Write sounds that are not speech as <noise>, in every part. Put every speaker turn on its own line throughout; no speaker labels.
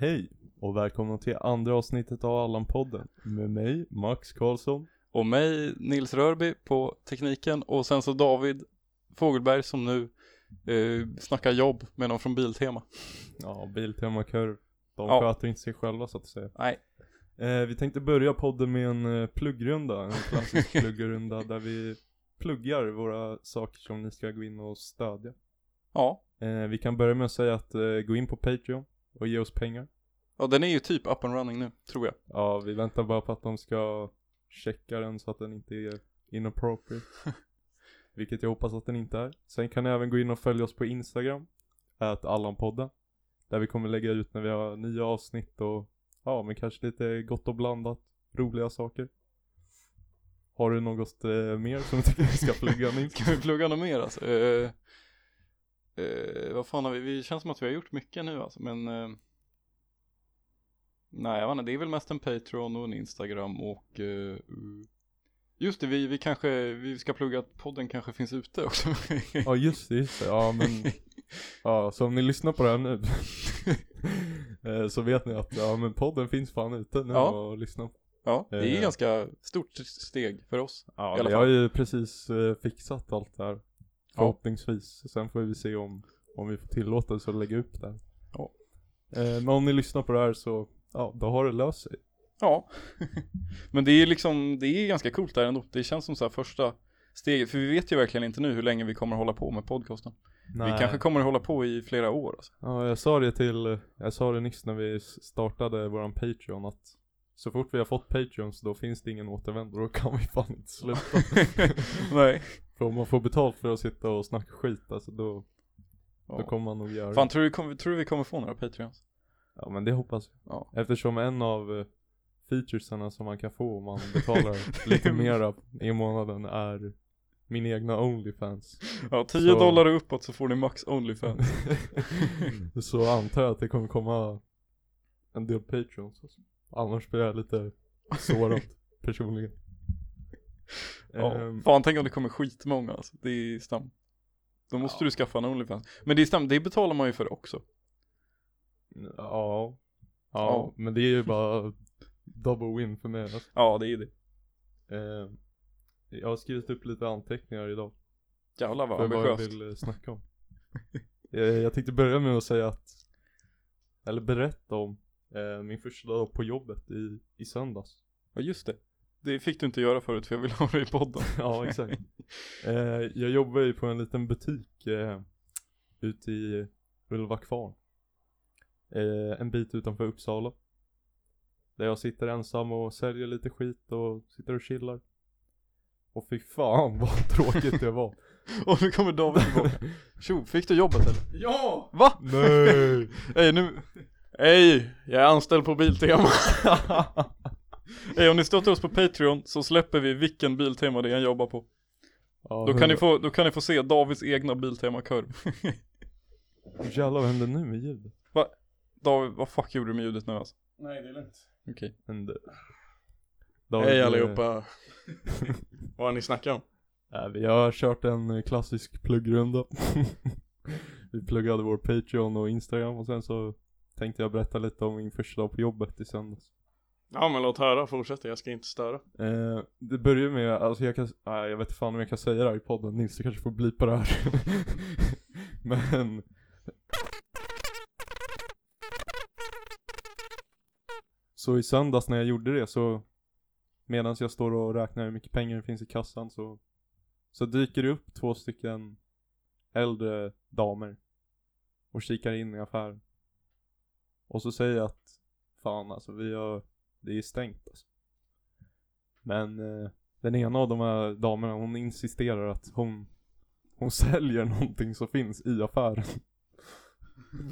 Hej och välkomna till andra avsnittet av Allan-podden med mig, Max Karlsson.
Och mig, Nils Rörby, på tekniken. Och sen så David Fogelberg som nu eh, snackar jobb med någon från Biltema.
Ja, Biltema Kurv. De
Ja.
sköter inte sig själva så att säga.
Nej.
Eh, vi tänkte börja podden med en eh, pluggrunda, en klassisk pluggrunda där vi pluggar våra saker som ni ska gå in och stödja.
Ja.
Eh, vi kan börja med att säga att eh, gå in på Patreon och ge oss pengar.
Ja, den är ju typ up and running nu, tror jag.
Ja, vi väntar bara på att de ska checka den så att den inte är inappropriate. Vilket jag hoppas att den inte är. Sen kan ni även gå in och följa oss på Instagram, att Allanpodden. Där vi kommer lägga ut när vi har nya avsnitt och ja, men kanske lite gott och blandat, roliga saker. Har du något eh, mer som du tycker vi ska plugga <laughs>
<laughs>
Nils?
Ska vi plugga något mer alltså? Eh, eh, vad fan har vi? Vi känns som att vi har gjort mycket nu alltså, men... Eh, nej, jag vet inte, det är väl mest en Patreon och en Instagram och... Eh, just det, vi, vi kanske, vi ska plugga att podden kanske finns ute också. <laughs>
Ja just det, just det. Ja men, ja så om ni lyssnar på det här nu <laughs> eh, så vet ni att ja men podden finns fan ute nu
Ja.
och lyssna på.
ja, det är
Eh.
ju ganska stort steg för oss. I
Ja,
alla
vi har ju precis eh, fixat allt det här. Förhoppningsvis. Sen får vi se om, om vi får tillåtelse att lägga upp det. här.
Ja.
Eh, men om ni lyssnar på det här så, ja, då har det löst sig.
Ja, <laughs> men det är liksom, det är ganska coolt där ändå. Det känns som så här första steget, för vi vet ju verkligen inte nu hur länge vi kommer hålla på med podcasten. Vi kanske kommer hålla på i flera år. Alltså.
Ja, jag sa det till, jag sa det nyss när vi s- startade våran Patreon att så fort vi har fått Patreons då finns det ingen återvändo, då kan vi fan inte sluta.
<laughs> Nej.
för om man får betalt för att sitta och snacka skit alltså då, då
Ja.
kommer man nog göra
Fan,
det.
tror du, vi kommer- tror du vi kommer få några Patreons?
Ja men det hoppas vi.
Ja.
Eftersom en av eh, featuresarna som man kan få om man
<laughs>
betalar lite mera i månaden är min egna
<laughs>
Onlyfans.
Ja, 10
Så-
dollar och uppåt så får ni max Onlyfans.
Så antar jag att det kommer komma en del Patreons. också. Annars blir jag lite
<laughs>
sårad personligen.
Ja.
Ehm,
Fan, tänk om det kommer skitmånga alltså. Det är stam. Då
Ja.
måste du skaffa en Onlyfans. Men det är stam, det betalar man ju för också.
ja, ja.
Ja.
men det är ju bara double win för mig. Alltså.
Ja, det är det.
Ehm, jag har skrivit upp lite anteckningar idag.
Jävlar vad
för vad jag
ambitiöst.
vill eh, snacka om. <laughs> jag, jag tänkte börja med att säga att, eller berätta om eh, min första dag på jobbet i, i söndags. <laughs>
Ja just det. Det fick du inte göra förut för jag ville ha det i podden. <laughs>
ja, exakt. <laughs> Eh, jag jobbar ju på en liten butik eh, ute i Ulva kvarn. Eh, en bit utanför Uppsala. Där jag sitter ensam och säljer lite skit och sitter och chillar. Och fy fan <laughs> vad tråkigt det var.
Och nu kommer David tillbaka. Tjo, fick du jobbet eller? Ja! Va?
Nej!
<laughs> Ey nu... Ey, jag är anställd på Biltema. <laughs> Ey om ni stöttar oss på Patreon så släpper vi vilken Biltema det är han jobbar på.
Ja,
Då kan ni få, då kan ni få se Davids egna Biltema-kurv. <laughs>
Jävlar vad hände nu med ljudet?
David, vad fuck gjorde du med ljudet nu alltså?
Nej, det är lugnt.
Okej.
Hände. eh,
Hej allihopa. Vad har ni snackat om?
Äh, vi har kört en eh, klassisk pluggrunda. <laughs> vi pluggade vår Patreon och Instagram och sen så tänkte jag berätta lite om min första dag på jobbet i söndags.
Ja men låt höra, fortsätt. Jag ska inte störa.
Eh, det börjar med, alltså jag kan, nej, jag vet inte fan om jag kan säga det här i podden, Nils du kanske får blipa det här. <laughs> Men. Så i söndags när jag gjorde det så, medan jag står och räknar hur mycket pengar det finns i kassan så, så dyker det upp två stycken äldre damer och kikar in i affären. Och så säger jag att, fan alltså vi har, det är stängt alltså. Men eh, den ena av de här damerna hon insisterar att hon, hon <laughs> säljer någonting som finns i affären.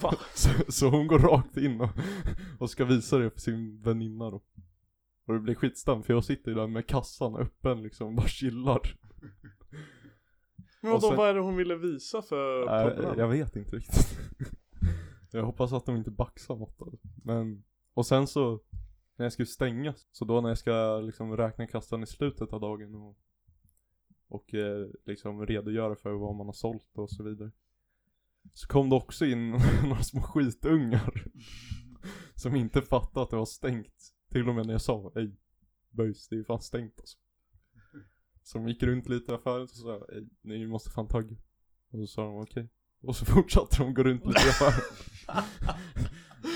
Va?
Så, så hon går rakt in och, och ska visa det för sin väninna då. Och det blir skitstam för jag sitter ju där med kassan öppen liksom och bara chillar.
Men
Och
vadå,
sen-
vad är det hon ville visa för
Äh,
Eh,
podden? <laughs>
jag vet inte riktigt. <laughs> jag hoppas att de inte baxar något av det. Men, och sen så när jag skulle stänga, så då när jag ska liksom räkna kassan i slutet av dagen och, och eh, liksom redogöra för vad man har <laughs> sålt och så vidare. Så kom det också in några små skitungar <laughs> som inte fattade att det var stängt. Till och med när jag sa, ej böjs, det är fan stängt alltså. Som gick runt lite i affären och sa, ej ni måste fan tagga. Och så sa de okej. Och så <laughs> fortsatte de gå runt lite i affären.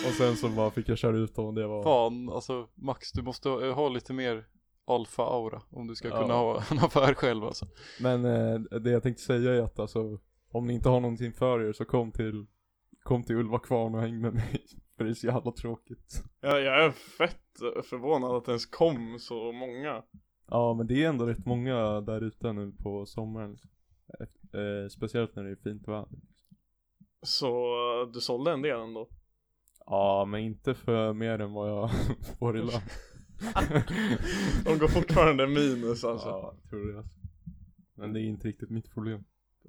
och sen så bara fick jag köra ut dem, det var...
Fan, alltså Max, du måste ha, ha lite mer alfa-aura om du ska kunna ha <laughs> en affär själv alltså.
Men eh, det jag tänkte säga är att alltså, om ni inte har någonting för er så kom till, kom till Ulva Kvarn och häng med mig. <laughs> För det är så jävla tråkigt.
Ja, jag är fett förvånad att det ens kom så många.
Ja men det är ändå rätt många där ute nu på sommaren. Eh, eh, speciellt när det är fint väder.
Så eh, du sålde en del ändå?
Ja men inte för mer än vad jag <laughs> får i lön.
De går fortfarande minus alltså.
Ja, jag tror det alltså. Men det är inte riktigt mitt problem.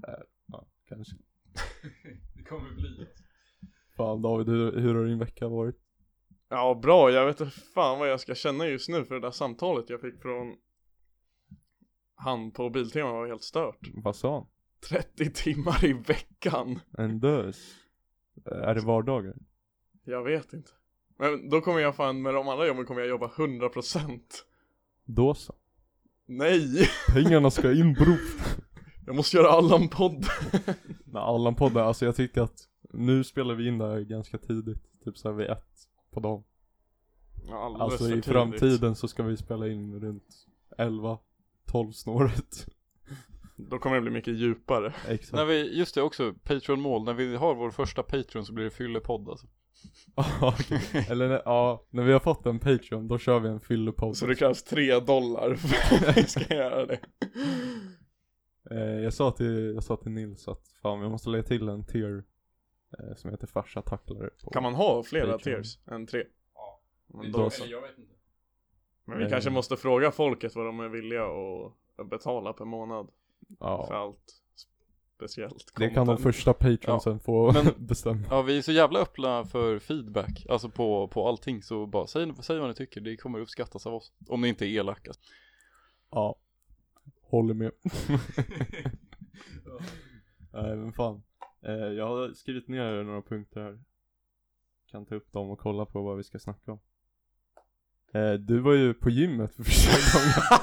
Äh, ja, kanske.
Det kommer bli alltså.
Fan David, hur, hur har din vecka varit?
Ja, bra. Jag vet inte fan vad jag ska känna just nu för det där samtalet jag fick från han på Biltema var helt stört.
Vad sa han?
30 timmar i veckan.
En dös? Är det vardagar?
Jag vet inte. Men då kommer jag fan, med de andra jobben kommer jag jobba 100%
Då så.
Nej!
Pengarna ska in bror.
Jag måste göra Allan-podd
Nej, Allan-podden, alltså jag tycker att nu spelar vi in det här ganska tidigt, typ såhär vid ett på dagen.
Ja, alldeles
Alltså
för
i
tidigt.
framtiden så ska vi spela in runt 11, 12 <laughs> snåret.
Då kommer det bli mycket djupare
Exakt.
När vi, just det också, Patreon-mål, när vi har vår första Patreon så blir det fyllepodd alltså.
Ja, <laughs> okej. Eller när- ja, när vi har fått en Patreon då kör vi en fyllepodd.
Så det krävs 3 dollar för
<laughs>
att vi ska göra det
Eh, jag, sa till, jag sa till Nils att fan jag måste lägga till en tier eh, som heter farsa tacklare. På.
Kan man ha flera
Patreon.
tiers än tre?
Ja.
Men, då, så.
jag vet inte.
men vi
Eh.
kanske måste fråga folket vad de är villiga att betala per månad
ja.
för allt speciellt
Det kan de
<laughs> content.
första patronsen få
Men-
<laughs> bestämma.
Ja, vi är så jävla öppna för feedback, alltså på, på allting, så bara säg, säg vad ni tycker, det kommer uppskattas av oss. Om ni inte
<laughs>
är elaka.
Ja. Håller med. Nej men fan. Eh, jag har skrivit ner några punkter här. Kan ta upp dem och kolla på vad vi ska snacka om. Eh, du var ju på gymmet för <laughs> första gången.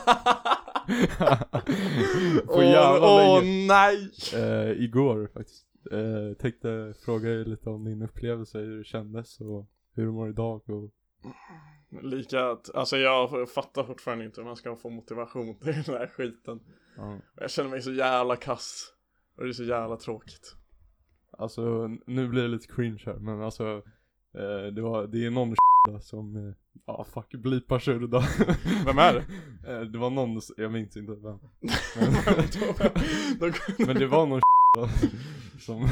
på jävla
Åh
länge.
nej!
Eh, igår faktiskt. Eh, tänkte fråga dig lite om din upplevelse, hur det kändes och hur du mår idag och
Lika att, alltså jag fattar fortfarande inte hur man ska få motivation till den här skiten
ja.
Jag känner mig så jävla kass Och det är så
<laughs>
jävla tråkigt <laughs>
Alltså n- nu blir det lite cringe här men alltså eh, det, var, det är någon där som, eh, ja ah, fuck blipar Shurda.
<laughs> Vem är det?
<laughs> Eh, det var någon, s- jag minns inte
<laughs>
vem.
Då- då-
Men det var någon <laughs> som,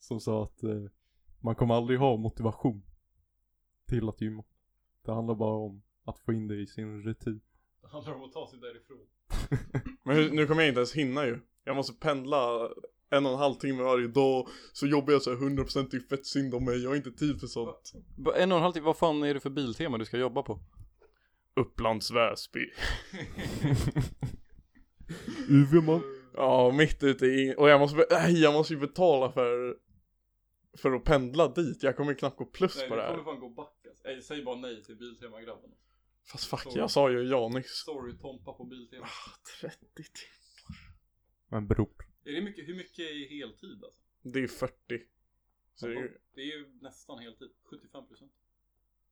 som sa att eh, man kommer aldrig ha motivation till att gymma. Det handlar bara om att få in det i sin
<laughs>
rutin.
Det handlar om att ta sig därifrån.
Men hur, nu kommer jag inte ens hinna ju Jag måste pendla en och en halv timme varje dag Så jobbar jag så här 100% det är fett synd om mig Jag har inte tid för sånt
En och en halv timme, vad fan är det för biltema du ska jobba på?
Mm. Upplands Väsby
UV-man.
Ja, mitt ute i Och jag måste, be- nej jag måste ju betala för För att pendla dit Jag kommer knappt gå plus på det här
fan gå back alltså. Nej, säg bara nej till biltema-grabbarna.
Fast fuck, jag sa ju ja nyss
Sorry, Tompa på biltema.
30 timmar
Men bror.
Är det mycket, hur mycket är heltid alltså?
Det är 40 så det är, ju-
Det är ju nästan heltid, 75%.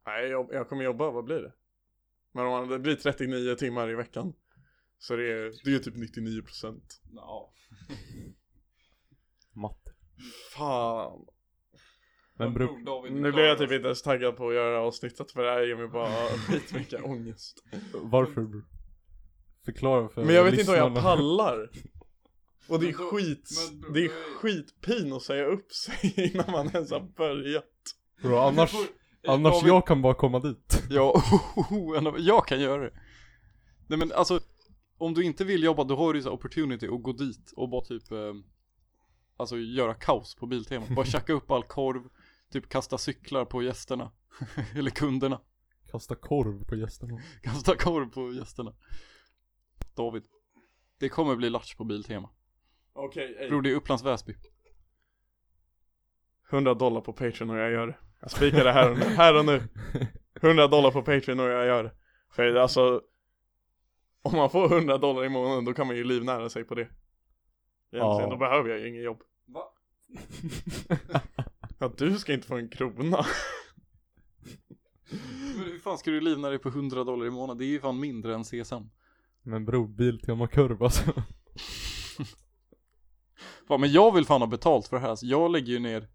Nej, jag, jag kommer jobba, vad blir det? Men om man, det blir 39 timmar i veckan Så det är, det är ju typ 99%
Ja.
Matte.
Fan
Men bror.
Nu blir jag typ inte ens taggad på att göra avsnittet för det här ger mig bara
<laughs>
skitmycket ångest
Varför bror? Förklara för
Men jag vet inte om jag
lyssnarna.
<laughs>
pallar Och det är
Men då-
skit,
men då-
det är
då är-
skitpin att säga upp sig <laughs> innan man ens har börjat
Bro, annars, annars jag kan bara komma dit. <laughs>
Ja, <laughs> jag kan göra det. Nej men alltså, om du inte vill jobba då har du ju så här opportunity att gå dit och bara typ, eh, alltså göra kaos på Biltema. Bara tjacka upp all korv, typ kasta cyklar på gästerna. <laughs> Eller kunderna.
Kasta korv på <laughs> gästerna.
Kasta korv på gästerna. David. Det kommer bli latch på Biltema.
Okej,
Bror det är Upplands Väsby.
100 dollar på Patreon och jag gör det Jag spikar det här och nu, här och nu 100 dollar på Patreon och jag gör det För alltså Om man får 100 dollar i månaden då kan man ju livnära sig på det Egentligen,
Ja.
då behöver jag ju ingen jobb
Va?
Ja du ska inte få en krona
Men hur fan ska du livna dig på 100 dollar i månaden? Det är ju fan mindre än CSN.
Men bror, Biltema kurva alltså.
Fan, men jag vill fan ha betalt för det här. Alltså, jag lägger ju ner,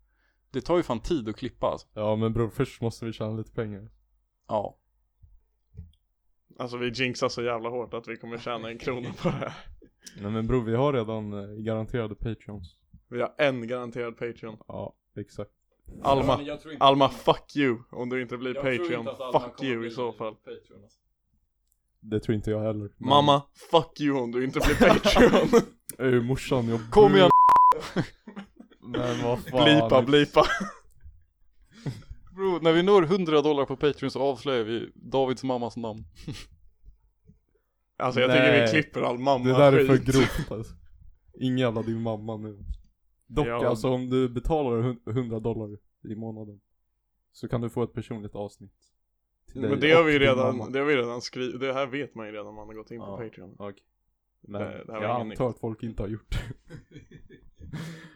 det tar ju fan tid att klippa alltså.
Ja men bror, först måste vi tjäna lite pengar.
Ja.
Alltså vi jinxar så jävla hårt att vi kommer tjäna en krona på det här
Nej men bror, vi har redan eh, garanterade Patreons.
Vi har en garanterad Patreon
Ja, exakt.
Alma,
jag tror inte,
Alma fuck you om du inte blir Patreon, fuck you i så fall
alltså.
Det tror inte jag heller. Men-
Mamma, fuck you om du inte
<laughs>
blir Patreon
Eh, morsan, jag...
Kom igen!
<laughs> Men vad fan.
Blipa, blipa
Bro, när vi når 100 dollar på Patreon så avslöjar vi Davids mammas namn.
Alltså jag
Nej.
tycker vi klipper all mamma
Det där är för grovt alltså. Ingen jävla din mamma nu. Dock
Ja.
alltså om du betalar hun- 100 dollar i månaden. Så kan du få ett personligt avsnitt. till dig
Men det har
och
vi ju
din
redan,
mamma.
det har vi redan skrivit, det här vet man ju redan om man har gått in på
Ja.
Patreon
Okej. Men
Det- det här var
jag
ingen
antar att folk inte har gjort det.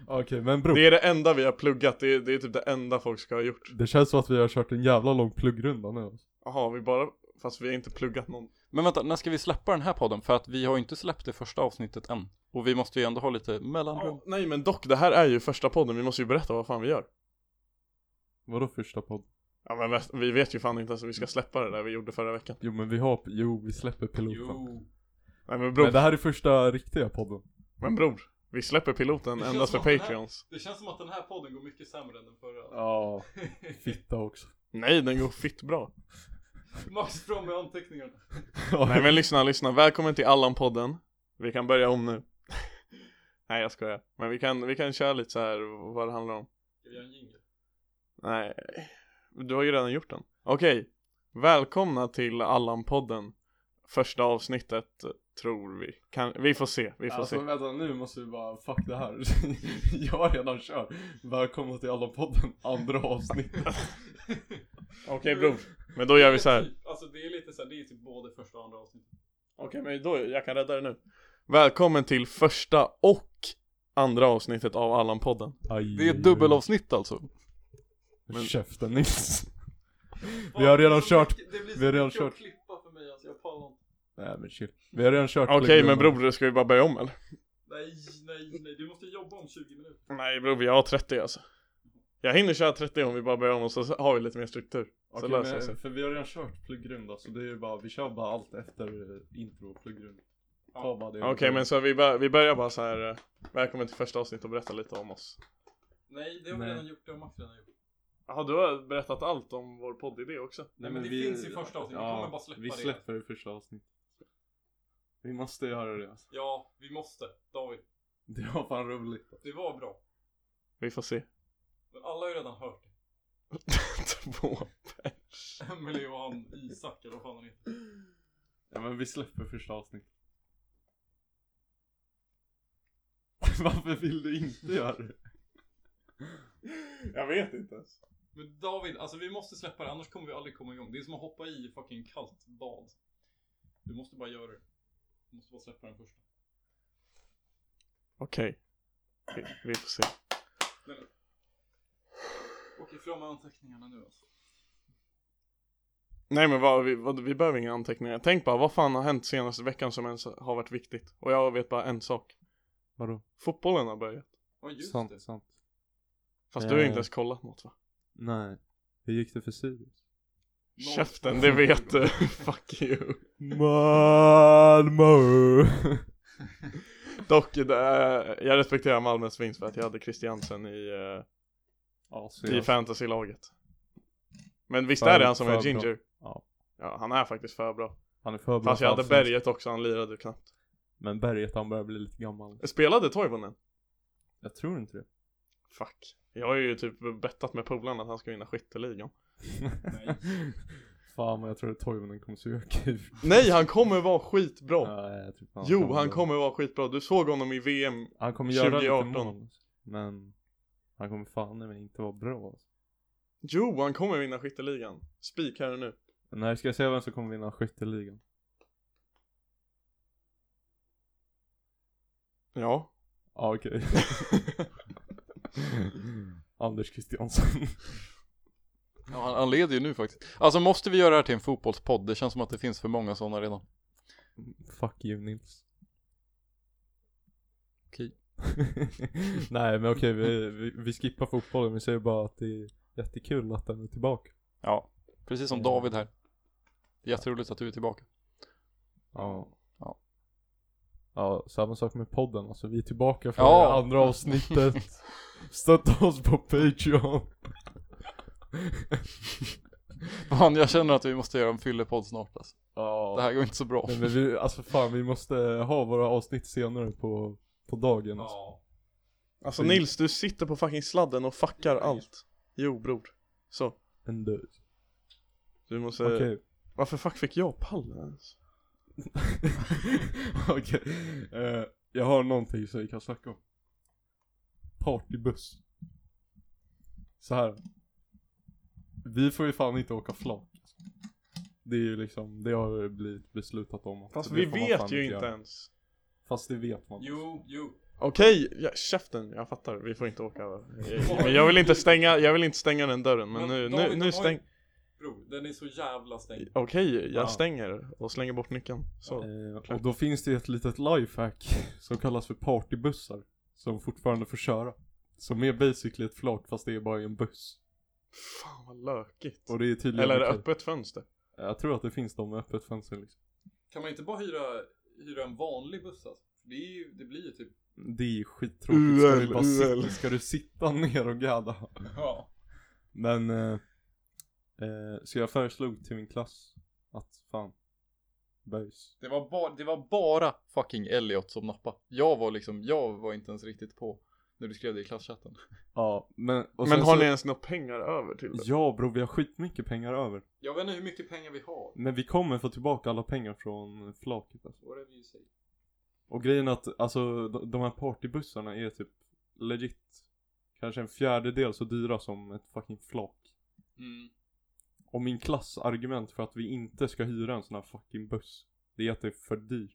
Okej men bror. Det...
Det är det enda vi har pluggat, det är, det är typ det enda folk ska ha gjort
känns som att vi har kört en jävla lång pluggrunda nu. alltså.
Jaha, vi bara, fast vi har inte pluggat någon
Men vänta, när ska vi släppa den här podden? För att vi har ju inte släppt det första avsnittet än. Och vi måste ju ändå ha lite mellanrum.
Ja, Nej men dock, det här är ju första podden, vi måste ju berätta vad fan vi gör
Vadå första podd?
Ja men väst- vi vet ju fan inte ens om vi ska släppa det där vi gjorde förra veckan
Jo men vi har, jo vi släpper piloten.
Nej men bror,
Men det här är första riktiga podden.
men bror Vi släpper piloten
Det känns
endast för
som att den här-
Patreons
Det känns som att den här podden går mycket sämre än den förra.
Ja. Fitta också.
Nej den går fitt bra
<laughs> Max fram med anteckningarna.
<laughs>
Nej men lyssna, lyssna. Välkommen till Allan-podden. Vi kan börja om nu. <laughs> Nej jag skojar. Men vi kan, vi kan köra lite så här vad det handlar om.
Ska vi göra en jingle?
Nej, du har ju redan gjort den. Okej, välkomna till Allan-podden. Första avsnittet tror vi. Kan, vi får se, vi får
Alltså
se.
vänta nu måste vi bara, fuck det här. <laughs> jag har redan kört. Välkomna till alla podden, andra avsnittet.
Okej bror. Men då gör vi så här.
Alltså det är lite så här, det är typ både första och andra avsnittet.
Okej men då, jag kan rädda det nu. Välkommen till första och andra avsnittet av Allan-podden.
Aj,
Det är ett dubbelavsnitt alltså.
Men... Käften Nils. Vi har redan kört. vi har redan kört.
klippa för mig alltså, jag pallar inte.
Nej men chill. Vi har redan kört.
Okej men
pluggrundan.
bror, ska vi bara börja om eller?
Nej, nej, nej, du måste jobba om 20 minuter.
Nej bror, vi har 30 alltså. Jag hinner köra 30 om vi bara börjar om och så har vi lite mer struktur. Så
Okej,
löser det sig.
men, för vi har redan kört pluggrunda så det är ju bara, vi kör bara allt efter eh, intro och pluggrunda. Ta bara det.
Okej men så vi, bör, vi börjar bara så här. eh, Välkommen till första avsnittet och berätta lite om oss.
Nej, det
har vi Nej. redan
gjort, det har Max redan gjort.
Jaha, du har berättat allt om vår poddidé också.
Nej,
men det finns i första avsnittet, vi kommer bara släppa
Vi
det.
släpper det i första avsnittet. Vi måste göra det alltså.
Ja, vi måste. David,
Det var fan roligt.
det var bra.
Vi får se. <laughs>
Men alla har ju redan hört <laughs> det.
Två.
Emelie och han Isak, eller vad fan han heter.
Ja men vi släpper första avsnittet. <laughs> Varför vill du inte göra det?
Jag vet inte ens.
Men David, alltså vi måste släppa det, annars kommer vi aldrig komma igång. Det är som att hoppa i fucking kallt bad. Du måste bara göra det. Du måste bara släppa den första.
Okej. Vi- Vi får se.
Okej, fram med anteckningarna nu alltså.
Nej men vad, vi, vad, vi behöver inga anteckningar. Tänk bara, vad fan har hänt senaste veckan som ens har varit viktigt? Och jag vet bara en sak.
Vadå?
Fotbollen har börjat.
Ja, just det.
sant.
Fast du har ju
Eh.
inte ens kollat något va?
Nej. Hur gick det för Sirius?
Noll.
Käften, det vet
<laughs>
du. Fuck you.
Malmö!
Dock, det är, jag respekterar Malmös vinst för att jag hade Christiansen i, eh,
<laughs> ja,
i
Sirius.
fantasylaget. Men visst
För-
är det han som är
för bra.
ginger?
Ja.
Ja, han är faktiskt för bra.
Han är för bra
Fast
för
jag hade
allsvenskan.
Berget också, han lirade ju knappt.
Men Berget han börjar bli lite gammal.
Spelade Toivonen?
Jag tror inte det.
Fuck. Jag har ju typ bettat med polarna att han ska
<laughs>
vinna skytteligan.
Nej.
fan men jag tror att Toivonen kommer suga kuk.
Nej, han kommer vara skitbra!
Nej, jag tror fan
Jo, han kommer vara skitbra. Du såg honom i VM.
Han kommer göra
2018.
lite mål. Men han kommer fan i mig inte vara bra. alltså.
Jo, han kommer vinna skytteligan. Spik här och nu.
Nej, ska jag säga vem som kommer vinna skytteligan?
Ja.
Ja, <laughs> okej. Anders Christiansson.
Ja, han, han leder ju nu faktiskt. Alltså måste vi göra det här till en fotbollspodd? Det känns som att det finns för många sådana redan.
Fuck you Nils.
Okej.
<laughs> Nej men okej, vi, vi, vi skippar fotbollen. Vi säger bara att det är jättekul att den är tillbaka.
Ja, precis som David här. Jätteroligt att du är
<laughs>
tillbaka.
Ja.
Ja.
Ja, samma sak med podden. Alltså vi är tillbaka för
Ja.
det andra
<laughs>
avsnittet. Stötta oss på Patreon.
Fan, jag känner att vi måste göra en fyllepodd snart alltså.
Ja.
Det här går inte så bra.
Nej, men vi, alltså fan vi måste ha våra avsnitt senare på, på dagen. alltså.
Alltså
Mm.
Nils, du sitter på fucking sladden och fuckar allt. Jo bror. Så.
En död.
Du måste...
Okej.
Varför fuck fick jag pallen ens?
<laughs> Okej. Eh, jag har någonting som vi kan snacka om. Partybuss. Så här. Vi får ju fan inte åka flak. alltså. Det är ju liksom, det har ju blivit beslutat om.
Fast
Så det
Alltså, vi
får man fan
vet ju inte
göra.
ens.
Fast det vet man.
Jo, jo.
Okej, ja, käften, jag fattar. Vi får inte åka. Men jag vill inte stänga, jag vill inte stänga den dörren. Men,
Men
nu,
David,
nu,
de har ju-
nu stäng.
Bro, den är så jävla stängd.
Okej, jag
Ja.
stänger och slänger bort nyckeln. Så.
Eh, och
klart.
då finns det ju ett litet lifehack <laughs> som kallas för partybussar. Som fortfarande får köra. Som är basically ett flak fast det är bara en buss.
Fan vad lökigt.
Och det är tydligen
Eller är det
okej.
öppet fönster?
Jag tror att det finns de med öppet fönster liksom.
Kan man inte bara hyra, hyra en vanlig buss alltså? Det, är ju, det blir ju typ...
Det är ju skittråkigt, ska, du
UL,
bara sitta,
UL.
ska du sitta <laughs> ner och gadda?
<laughs> Ja.
Men, eh, eh, så jag föreslog till min klass att fan, böjs.
Det var, ba, det var bara fucking Elliot som nappade. Jag var liksom, jag var inte ens riktigt på när du skrev det i klasschatten.
Ja, men, och
Men
sen
har
så-
ni ens några pengar över till det?
Ja bror, vi har skitmycket pengar över.
Jag vet inte hur mycket pengar vi har.
Men vi kommer få tillbaka alla pengar från flaket alltså.
Whatever you say.
Och grejen är att, alltså de- de här partybussarna är typ legit kanske en fjärdedel så dyra som ett fucking flak.
Mm.
Och min klass argument för att vi inte ska hyra en sån här fucking buss, det är att det är för dyrt.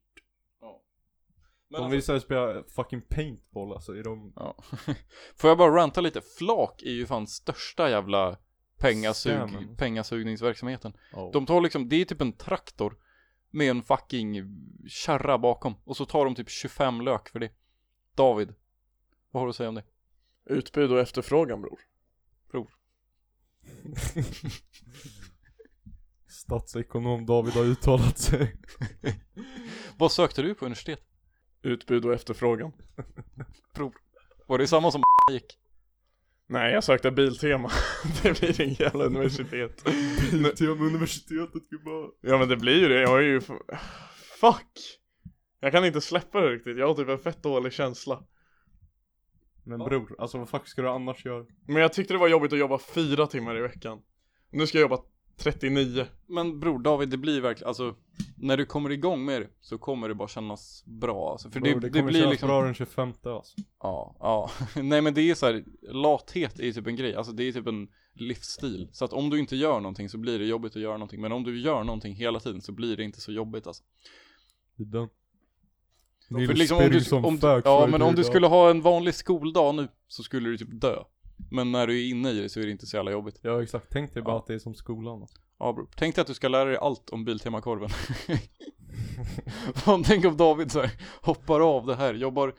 Men
de
alltså,
vill såhär spela fucking paintball alltså i de
ja. <laughs> Får jag bara ranta lite? Flak är ju fan största jävla
Scammen.
pengasug, pengasugningsverksamheten.
de...
De tar liksom, det är typ en traktor med en fucking kärra bakom och så tar de typ 25 lök för det. David, vad har du att säga om det?
Utbud och efterfrågan bror.
<laughs> Statsekonom David har uttalat sig.
Vad sökte du på universitet?
Utbud och efterfrågan.
Var det samma som <laughs> gick?
Nej, jag sökte Biltema. <laughs> det blir inget jävla universitet.
<laughs> Till och med universitetet gubbar.
Ja men det blir ju det, jag är ju... f- Fuck! Jag kan inte släppa det riktigt, jag har typ en fett dålig känsla.
Men
Ja.
bror, alltså vad fuck ska du annars göra?
Men jag tyckte det var jobbigt att jobba fyra timmar i veckan. Nu ska jag jobba 39.
Men bror David, det blir verkligen, alltså när du kommer igång med det så kommer det bara kännas bra alltså. För
Bror,
det, det,
kommer
blir
kännas
liksom,
bra den 25 alltså.
ja, ja. <laughs> Nej men det är så här, lathet är ju typ en grej, alltså det är typ en livsstil. Så att om du inte gör någonting så blir det jobbigt att göra någonting. Men om du gör någonting hela tiden så blir det inte så jobbigt alltså.
Det är den.
För
Nils
liksom om
Berg
du,
som
om du,
fök
ja
för
men om du
idag.
skulle ha en vanlig skoldag nu så skulle du typ dö. Men när du är inne i det så är det inte så jävla jobbigt.
Ja exakt, tänk dig bara
Ja.
att det är som skolan alltså.
Ja bror, tänk dig att du ska lära dig allt om Biltemakorven. <laughs> Fan, tänk om David så här, hoppar av det här, jobbar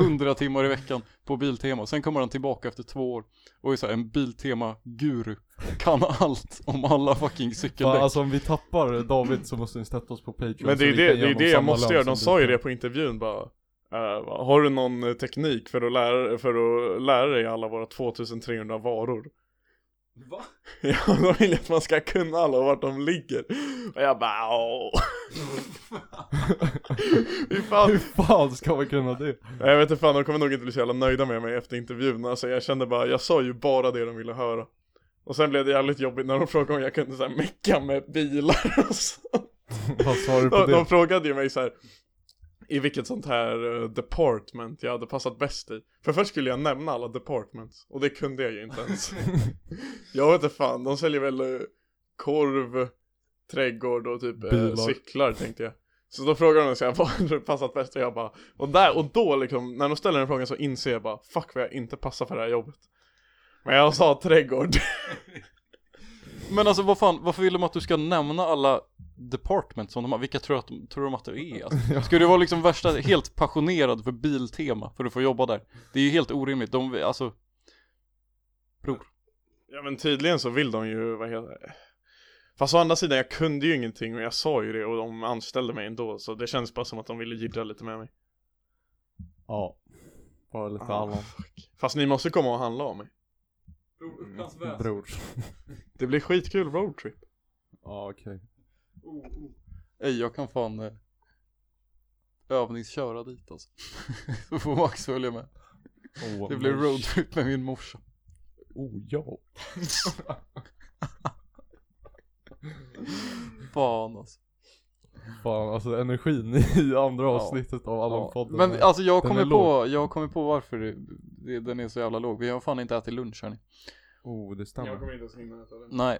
100 timmar i veckan på Biltema, sen kommer han tillbaka efter två år och är så här, en Biltema-guru, kan allt om alla fucking cykeldäck.
Fan, alltså om vi tappar David så måste ni stötta oss på Patreon
Men
så
det är ju
vi
det,
kan
det, är
ge
det jag
honom
måste
samma
göra,
lön
de
som
sa ju
du.
det på intervjun bara. eh, va, har du någon eh, teknik för att lära, för att lära dig alla våra 2300 varor?
Va?
<laughs> Ja, de vill att man ska kunna alla och vart de ligger. Och jag bara åh. <laughs> Hur fan
<laughs> Hur fan ska man kunna det?
Nej, Jag vet inte fan, de kommer nog inte bli så jävla nöjda med mig efter intervjun Alltså jag kände bara, jag sa ju bara det de ville höra Och sen blev det jävligt jobbigt när de frågade om jag kunde såhär mecka med bilar och så.
Vad svarar du på
de, de
det?
frågade ju mig så här. i vilket sånt här eh, department jag hade passat bäst i. För först skulle jag nämna alla departments, och det kunde jag ju inte
<laughs>
ens. jag vet inte fan, de säljer väl eh, korv, trädgård och typ eh,
Bilar.
cyklar tänkte jag. Så då frågade de så jag <laughs> vad hade du passat bäst och jag bara, och där och då liksom, när de ställer den frågan så inser jag bara, fuck vad jag inte passar för det här jobbet. Men jag sa trädgård.
Men alltså vad fan, varför vill de att du ska nämna alla department som de har? Vilka tror, att de, tror de att du är? <laughs> Alltså? Ska du vara liksom värsta, helt passionerad för biltema för att få jobba där? Det är ju helt orimligt, de, alltså
Ja men tydligen så vill de ju, vad heter det? Fast å andra sidan, jag kunde ju ingenting och jag sa ju det och de anställde mig ändå så det känns bara som att de ville jiddra lite med mig.
Ja. Bara lite
Ah,
allom.
fuck. Fast ni måste komma och handla av mig.
Bror. <laughs>
Det blir skitkul roadtrip.
Ja Ah, okej.
Ej, jag kan fan eh, övningsköra dit alltså. <laughs> Då får Max följa med.
Åh,
Det blir
men-
roadtrip med min morsa.
Oh ja.
<laughs> Fan alltså.
Fan alltså energin <laughs> i andra avsnittet av
Ja.
Allan-podden.
Men
är-
alltså jag
den
kommer
är låg.
på, jag kommer på varför det, det, den är så jävla låg. Vi har fan inte ätit lunch hörni.
Oh det stämmer.
inte ens hinna äta den.
Nej.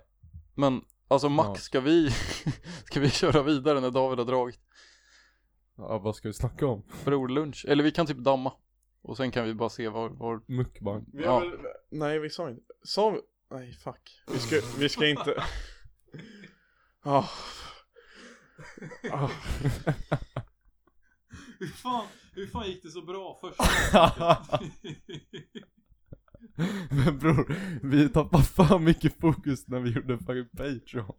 Men alltså Max,
Ja.
ska vi, <laughs> ska vi köra vidare när David har dragit
Ja, vad ska vi snacka om?
brorlunch? Eller vi kan typ damma. Och sen kan vi bara se var, var
Mukbang.
Vi
Ja.
har väl... Nej vi sa inte. Sa vi? Nej fuck. Vi ska, vi ska
<laughs>
inte... Ah. Ah.
hur, fan, hur fan gick det så bra <laughs> först?
<laughs> Men bror, vi tappade fan mycket fokus när vi gjorde fucking Patreon.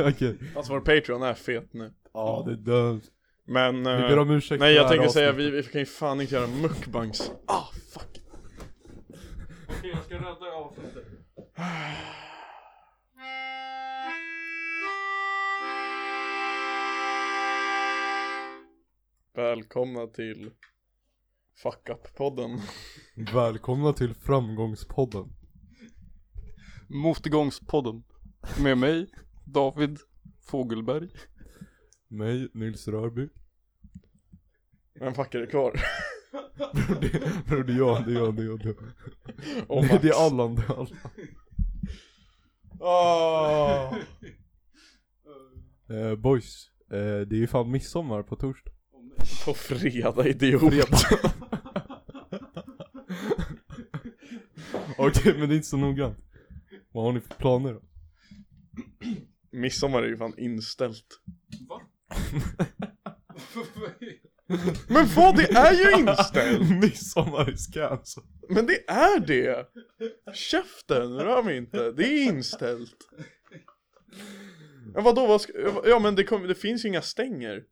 <laughs> Okej.
Alltså vår Patreon är fet nu.
Ja det är dumt.
Men...
Vi
eh,
ber om ursäkt för
Nej jag
det här
tänker säga, vi,
avsnittet.
vi kan ju fan inte göra mukbangs. Ah fuck.
Okej, jag ska rädda avsnittet.
Välkomna till Fuck Up-podden.
Välkomna till framgångspodden.
Motgångspodden. Med mig, David Fogelberg.
Mig, Nils Rörby. <laughs>
Men fuck är det kvar?
Bror det, bror, det är jag, det är jag, det är jag. Det är, jag.
Och Oh,
<laughs>
Max.
Det är Allan, det är Allan.
Åh.
Eh, boys, eh, det är ju fan midsommar på torsdag.
På fredag, idiot.
Okej men det är inte så noggrant. Vad har ni för planer då?
Midsommar är ju fan inställt.
Va?
Men vad, det är ju inställt!
<laughs> midsommar is cancelled.
Men det är det! Käften, rör mig inte. Det är inställt. Ja, vadå, vad ska, ja men det, kom, det finns ju inga stänger.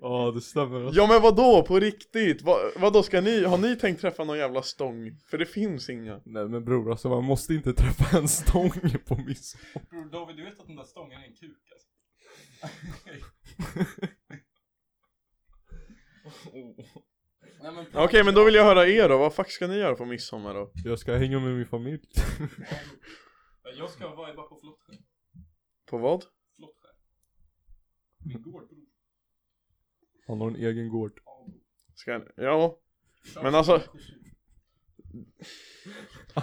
Ja det stämmer alltså.
Ja men vadå, på riktigt? Va, vadå, ska ni, har ni tänkt träffa någon jävla stång? För det finns inga.
Nej men bror alltså man måste inte träffa en stång på midsommar.
Bror <laughs> David, du vet att den där stången är en kuk alltså. Nej, men
Okej, men då vill jag höra er då. Vad fuck ska ni göra på midsommar då?
Jag ska hänga med min familj.
Jag ska vibea på Flottskär.
På vad?
Flottskär. Min gård bror.
Han har en egen gård.
Ska ni? Ja. Men alltså- ja.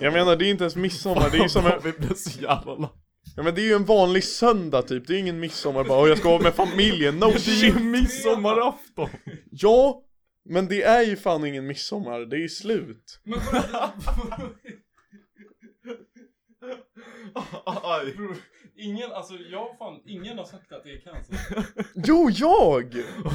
Jag menar, det är inte ens midsommar. Det är ju
<laughs>
som en,
Vi blev så jävla lack.
ja, men det är ju en vanlig söndag typ. Det är ju ingen midsommar bara, "Åh, jag ska vara med familjen.
<laughs>
No
Det är
shit.
ju midsommarafton!
Ja, men det är ju fan ingen midsommar. Det är ju slut.
Men vadå?
Aj.
Bror, ingen, alltså jag fan, ingen har sagt att det är cancer.
Jo, jag!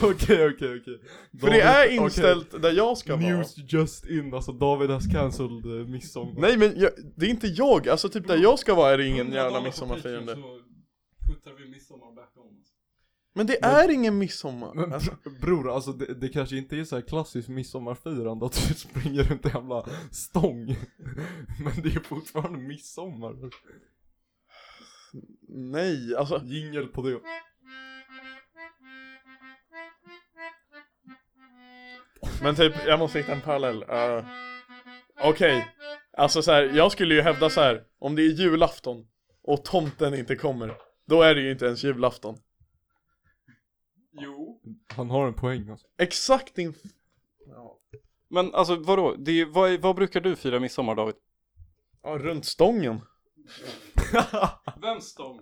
Okej okej okej.
För det är inställt där jag ska vara.
News just in, alltså David has cancelled eh, midsommar.
Nej men jag, det är inte jag, alltså typ där jag ska vara är det ingen
100
jävla
dollar på
midsommarfirande
Patreon Så puttar vi midsommar back on. alltså.
Men det är ingen midsommar!
Men
Alltså,
br- bror, alltså det, det kanske inte är så här klassiskt midsommarfirande att du <laughs> springer runt i jävla stång. <laughs> Men det är fortfarande midsommar.
nej, alltså
Jingel på det.
Men typ, jag måste hitta en parallell. Eh, Okej, alltså så här, jag skulle ju hävda så här. om det är julafton och tomten inte kommer, då är det ju inte ens julafton.
Jo.
Han har en poäng alltså.
Exakt din... f- Ja,
Men alltså vadå? Det är, vad, är- vad brukar du fira midsommar David?
ja runt stången.
Vem stång?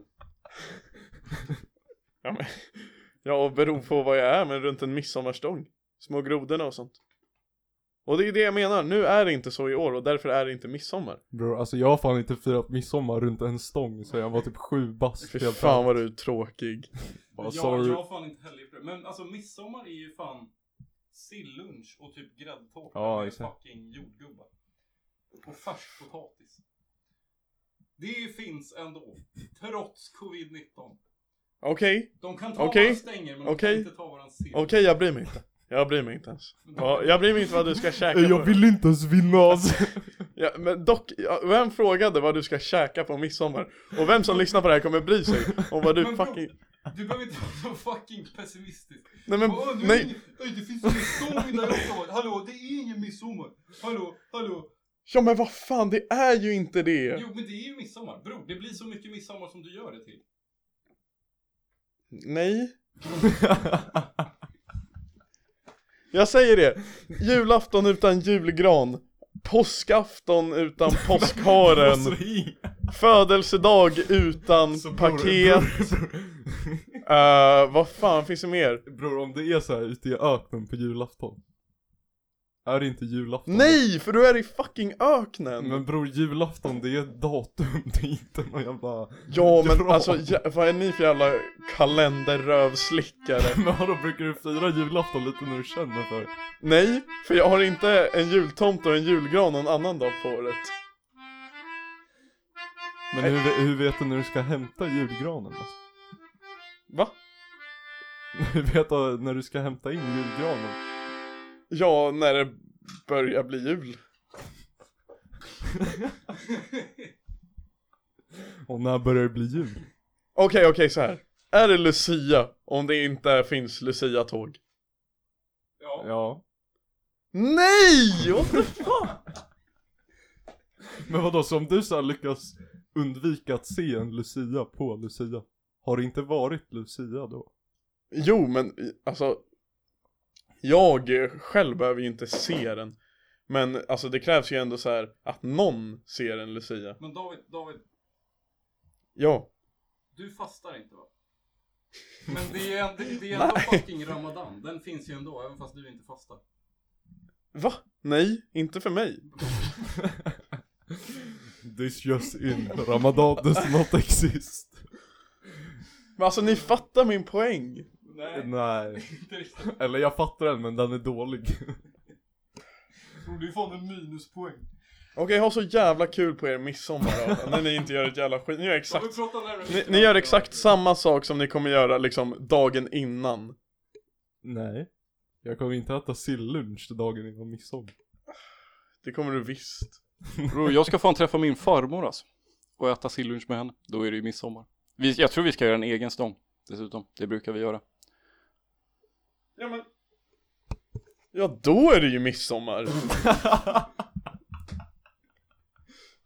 Ja, men, ja, och beror på vad jag är, men runt en midsommarstång. Små grodorna och sånt. Och det är det jag menar, nu är det inte så i år och därför är det inte midsommar.
Bror, alltså jag har fan inte firat midsommar runt en stång så jag var typ sju bast
Fy
helt
fan vad du är tråkig.
Bara, sorry.
fan inte heller gjort det. Men alltså midsommar är ju fan sillunch och typ gräddtårta
Ja, med exakt.
fucking jordgubbar. Och färsk potatis. Det finns ändå. Trots covid-19.
Okej,
De kan
ta Okej. våra
stänger men
de Okej. kan inte
ta våran sill.
okej jag bryr mig inte. Jag bryr mig inte ens. Ja, jag bryr mig inte vad du ska käka
Nej,
på-
Jag vill inte ens vinna alltså.
<laughs> Ja, men dock, ja, vem frågade vad du ska käka på midsommar? Och vem som lyssnar på det här kommer bry sig om vad du
Men bro-
fucking...
Du behöver inte vara så fucking pessimistisk.
Nej men,
Åh, nu är
nej!
ingen- Oj, det finns midsommar där också. Hallå, det är ingen midsommar. Hallå, hallå.
Ja men vad fan, det är ju inte det!
Jo, men det är ju midsommar. Bro, det blir så mycket midsommar som du gör det till.
Nej. <laughs> Jag säger det. Julafton utan julgran. Påskafton utan påskharen. Födelsedag utan paket. Eh, vad fan finns det mer?
Bror om det är så här ute i öknen på julafton. Är det inte julafton?
Nej, för du är i fucking öknen!
Men bror julafton det är ett datum, <laughs> det är inte någon jävla...
ja men
Dra.
alltså, jä- vad är ni för jävla kalenderrövslickare?
Men vadå brukar du fira julafton lite när du känner för det?
Nej, för jag har inte en jultomte och en julgran någon annan dag på året.
Men hur, hur vet du när du ska hämta julgranen alltså? <laughs>
Va?
Hur vet du när du ska hämta in julgranen?
Ja, när det börjar bli jul.
Och när börjar det bli jul?
Okej, okej så här. Är det Lucia om det inte finns Lucia-tåg?
Ja.
Nej! What the
Men vadå, så om du så här lyckas undvika att se en Lucia på Lucia, har det inte varit Lucia då?
Jo, men alltså. Jag själv behöver ju inte se den. Men alltså det krävs ju ändå så här att någon ser en Lucia.
Men David, David,
Ja.
du fastar
<laughs>
inte va? Men det är, det, det är ändå
Nej.
fucking ramadan. Den finns ju ändå, även fast du inte fastar.
Va? Nej, inte för mig.
This just in, Ramadan does not exist.
Men alltså ni fattar min poäng.
Nej,
Nej.
<laughs> inte riktigt.
Eller jag fattar den men den är dålig. <laughs>
Bro, det är fan en minuspoäng.
Okej, ha så jävla kul på er midsommar då, när ni inte gör ett jävla skit. Ni gör exakt
Vi pratar närmare.
Ni, ni gör exakt samma sak som ni kommer göra liksom dagen innan.
Nej. Jag kommer inte äta sillunch dagen innan midsommar.
Det kommer du visst.
Bro, jag ska fan träffa min farmor alltså. Och äta sillunch med henne. Då är det ju midsommar. Vi, jag tror vi ska göra en egen stång. Dessutom. Det brukar vi göra.
Ja men. Ja då är det ju midsommar.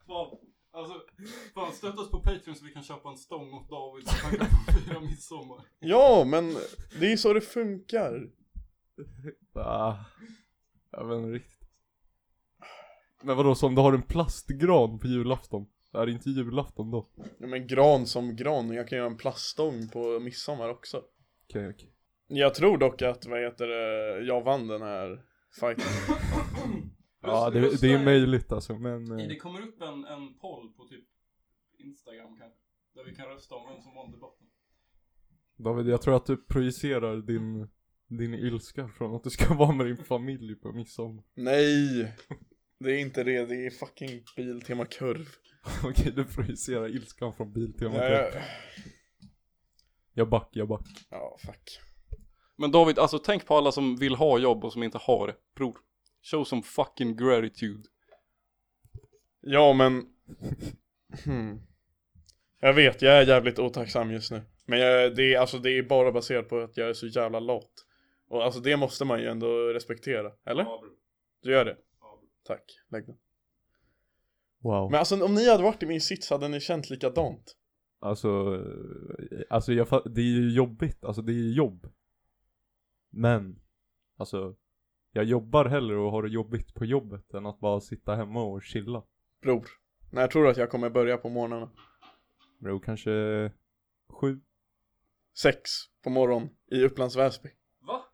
Fan, alltså, fan stötta oss på Patreon så vi kan köpa en stång
<laughs>
åt David så han kan få fira midsommar.
Ja men det är ju så det funkar.
Ah, jag vet inte riktigt. Men vadå, så om du har en plastgran på julafton? Är det inte julafton då? Okej,
Ja, men gran som gran, jag kan göra en plaststång på midsommar också.
okej.
Jag tror dock att, vad heter det, jag vann den här fighten.
Ja, det, det är möjligt alltså, men... eh,
Det kommer upp en, en poll på typ Instagram kanske. Där vi kan rösta om vem som vann debatten.
David, jag tror att du projicerar din, din ilska från att du ska <laughs> vara med din familj på midsommar. <laughs>
Nej! Det är inte det, det är fucking Biltema kurv.
Okej, du projicerar ilskan från Biltema.
Ja, jag...
Jag back, jag back.
ja fuck.
Men David, alltså tänk på alla som vill ha jobb och som inte har det. Bror. Show some fucking gratitude.
Ja men hmm. Jag vet, jag är jävligt otacksam just nu Men jag, det, är, alltså, det är bara baserat på att jag är så jävla lat Och alltså det måste man ju ändå respektera, eller?
Ja, bro.
Du gör det?
Ja, bro.
Tack, lägg den
Wow.
Men alltså om ni hade varit i min sits hade ni känt likadant
Alltså, eh, alltså jag, fa- det är ju jobbigt, alltså det är ju jobb. Men, alltså, jag jobbar hellre och har det jobbigt på jobbet än att bara sitta hemma och chilla.
Bror, när tror du att jag kommer börja på morgnarna?
Bro, kanske sju?
Sex på morgon i Upplands Väsby <laughs>
Va?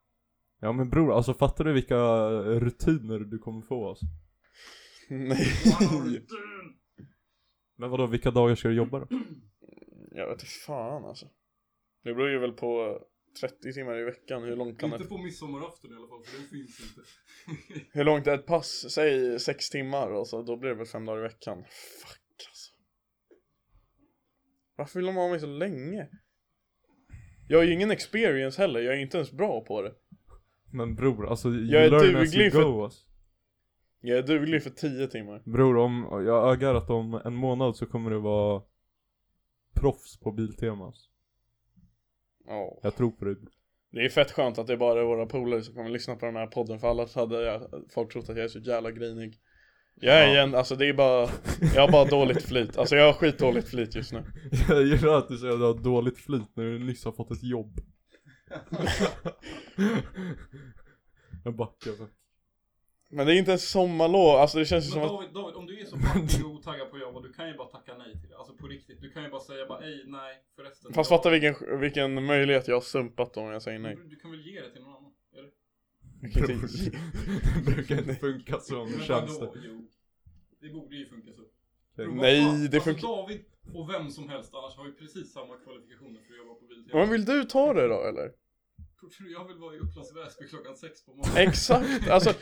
Ja men bror, alltså fattar du vilka rutiner du kommer få alltså?
Nej,
Wow,
Men vadå, vilka dagar ska du jobba då?
jag vet inte fan alltså Det beror ju väl på 30 timmar i veckan, hur långt kan
Inte
ett,
på midsommarafton i alla fall, för det finns inte.
hur långt är ett pass? Säg sex timmar och så, då blir det väl fem dagar i veckan Fuck alltså Varför vill de ha mig så länge? Jag har ju ingen experience heller, jag är inte ens bra på det
Men bror, alltså you
Jag är
learn as you
duglig
go
för-
alltså.
Jag är duglig för 10 timmar
Bror, om, jag ögar att om en månad så kommer du vara proffs på Biltemas.
Ja
Jag tror på dig. <laughs>
Det är fett skönt att det bara är våra polare som kommer lyssna på den här podden för annars hade jag, folk trott att jag är så jävla grinig Jag är
Ja.
igen, alltså det är bara, jag har bara dåligt flyt, alltså jag har skitdåligt flyt just nu
Jag gillar att du säger att du har dåligt flyt när du nyss har fått ett jobb. <laughs> jag backar för.
Men det är inte ens sommarlov, alltså det känns ju
Men
som att
David, David, om du är så fucking otaggad på att jobba, du kan ju bara tacka nej till det. Alltså på riktigt, du kan ju bara säga bara ej, nej, förresten.
Fast fatta vilken, vilken möjlighet jag har sumpat om jag säger nej
Du, du kan väl ge det till någon annan? Eller?
Jag kan inte-
<laughs> Det brukar inte funka så om det
Men
känns det.
vadå? Jo. Det borde ju funka så.
Okej.
Prova
Nej,
fan.
det
Alltså
funkar-
David och vem som helst annars har ju precis samma kvalifikationer för att jobba på Biltema.
Men vill du ta det då eller?
Tror du jag vill vara i Upplands Väsby klockan sex på morgonen?
Exakt, alltså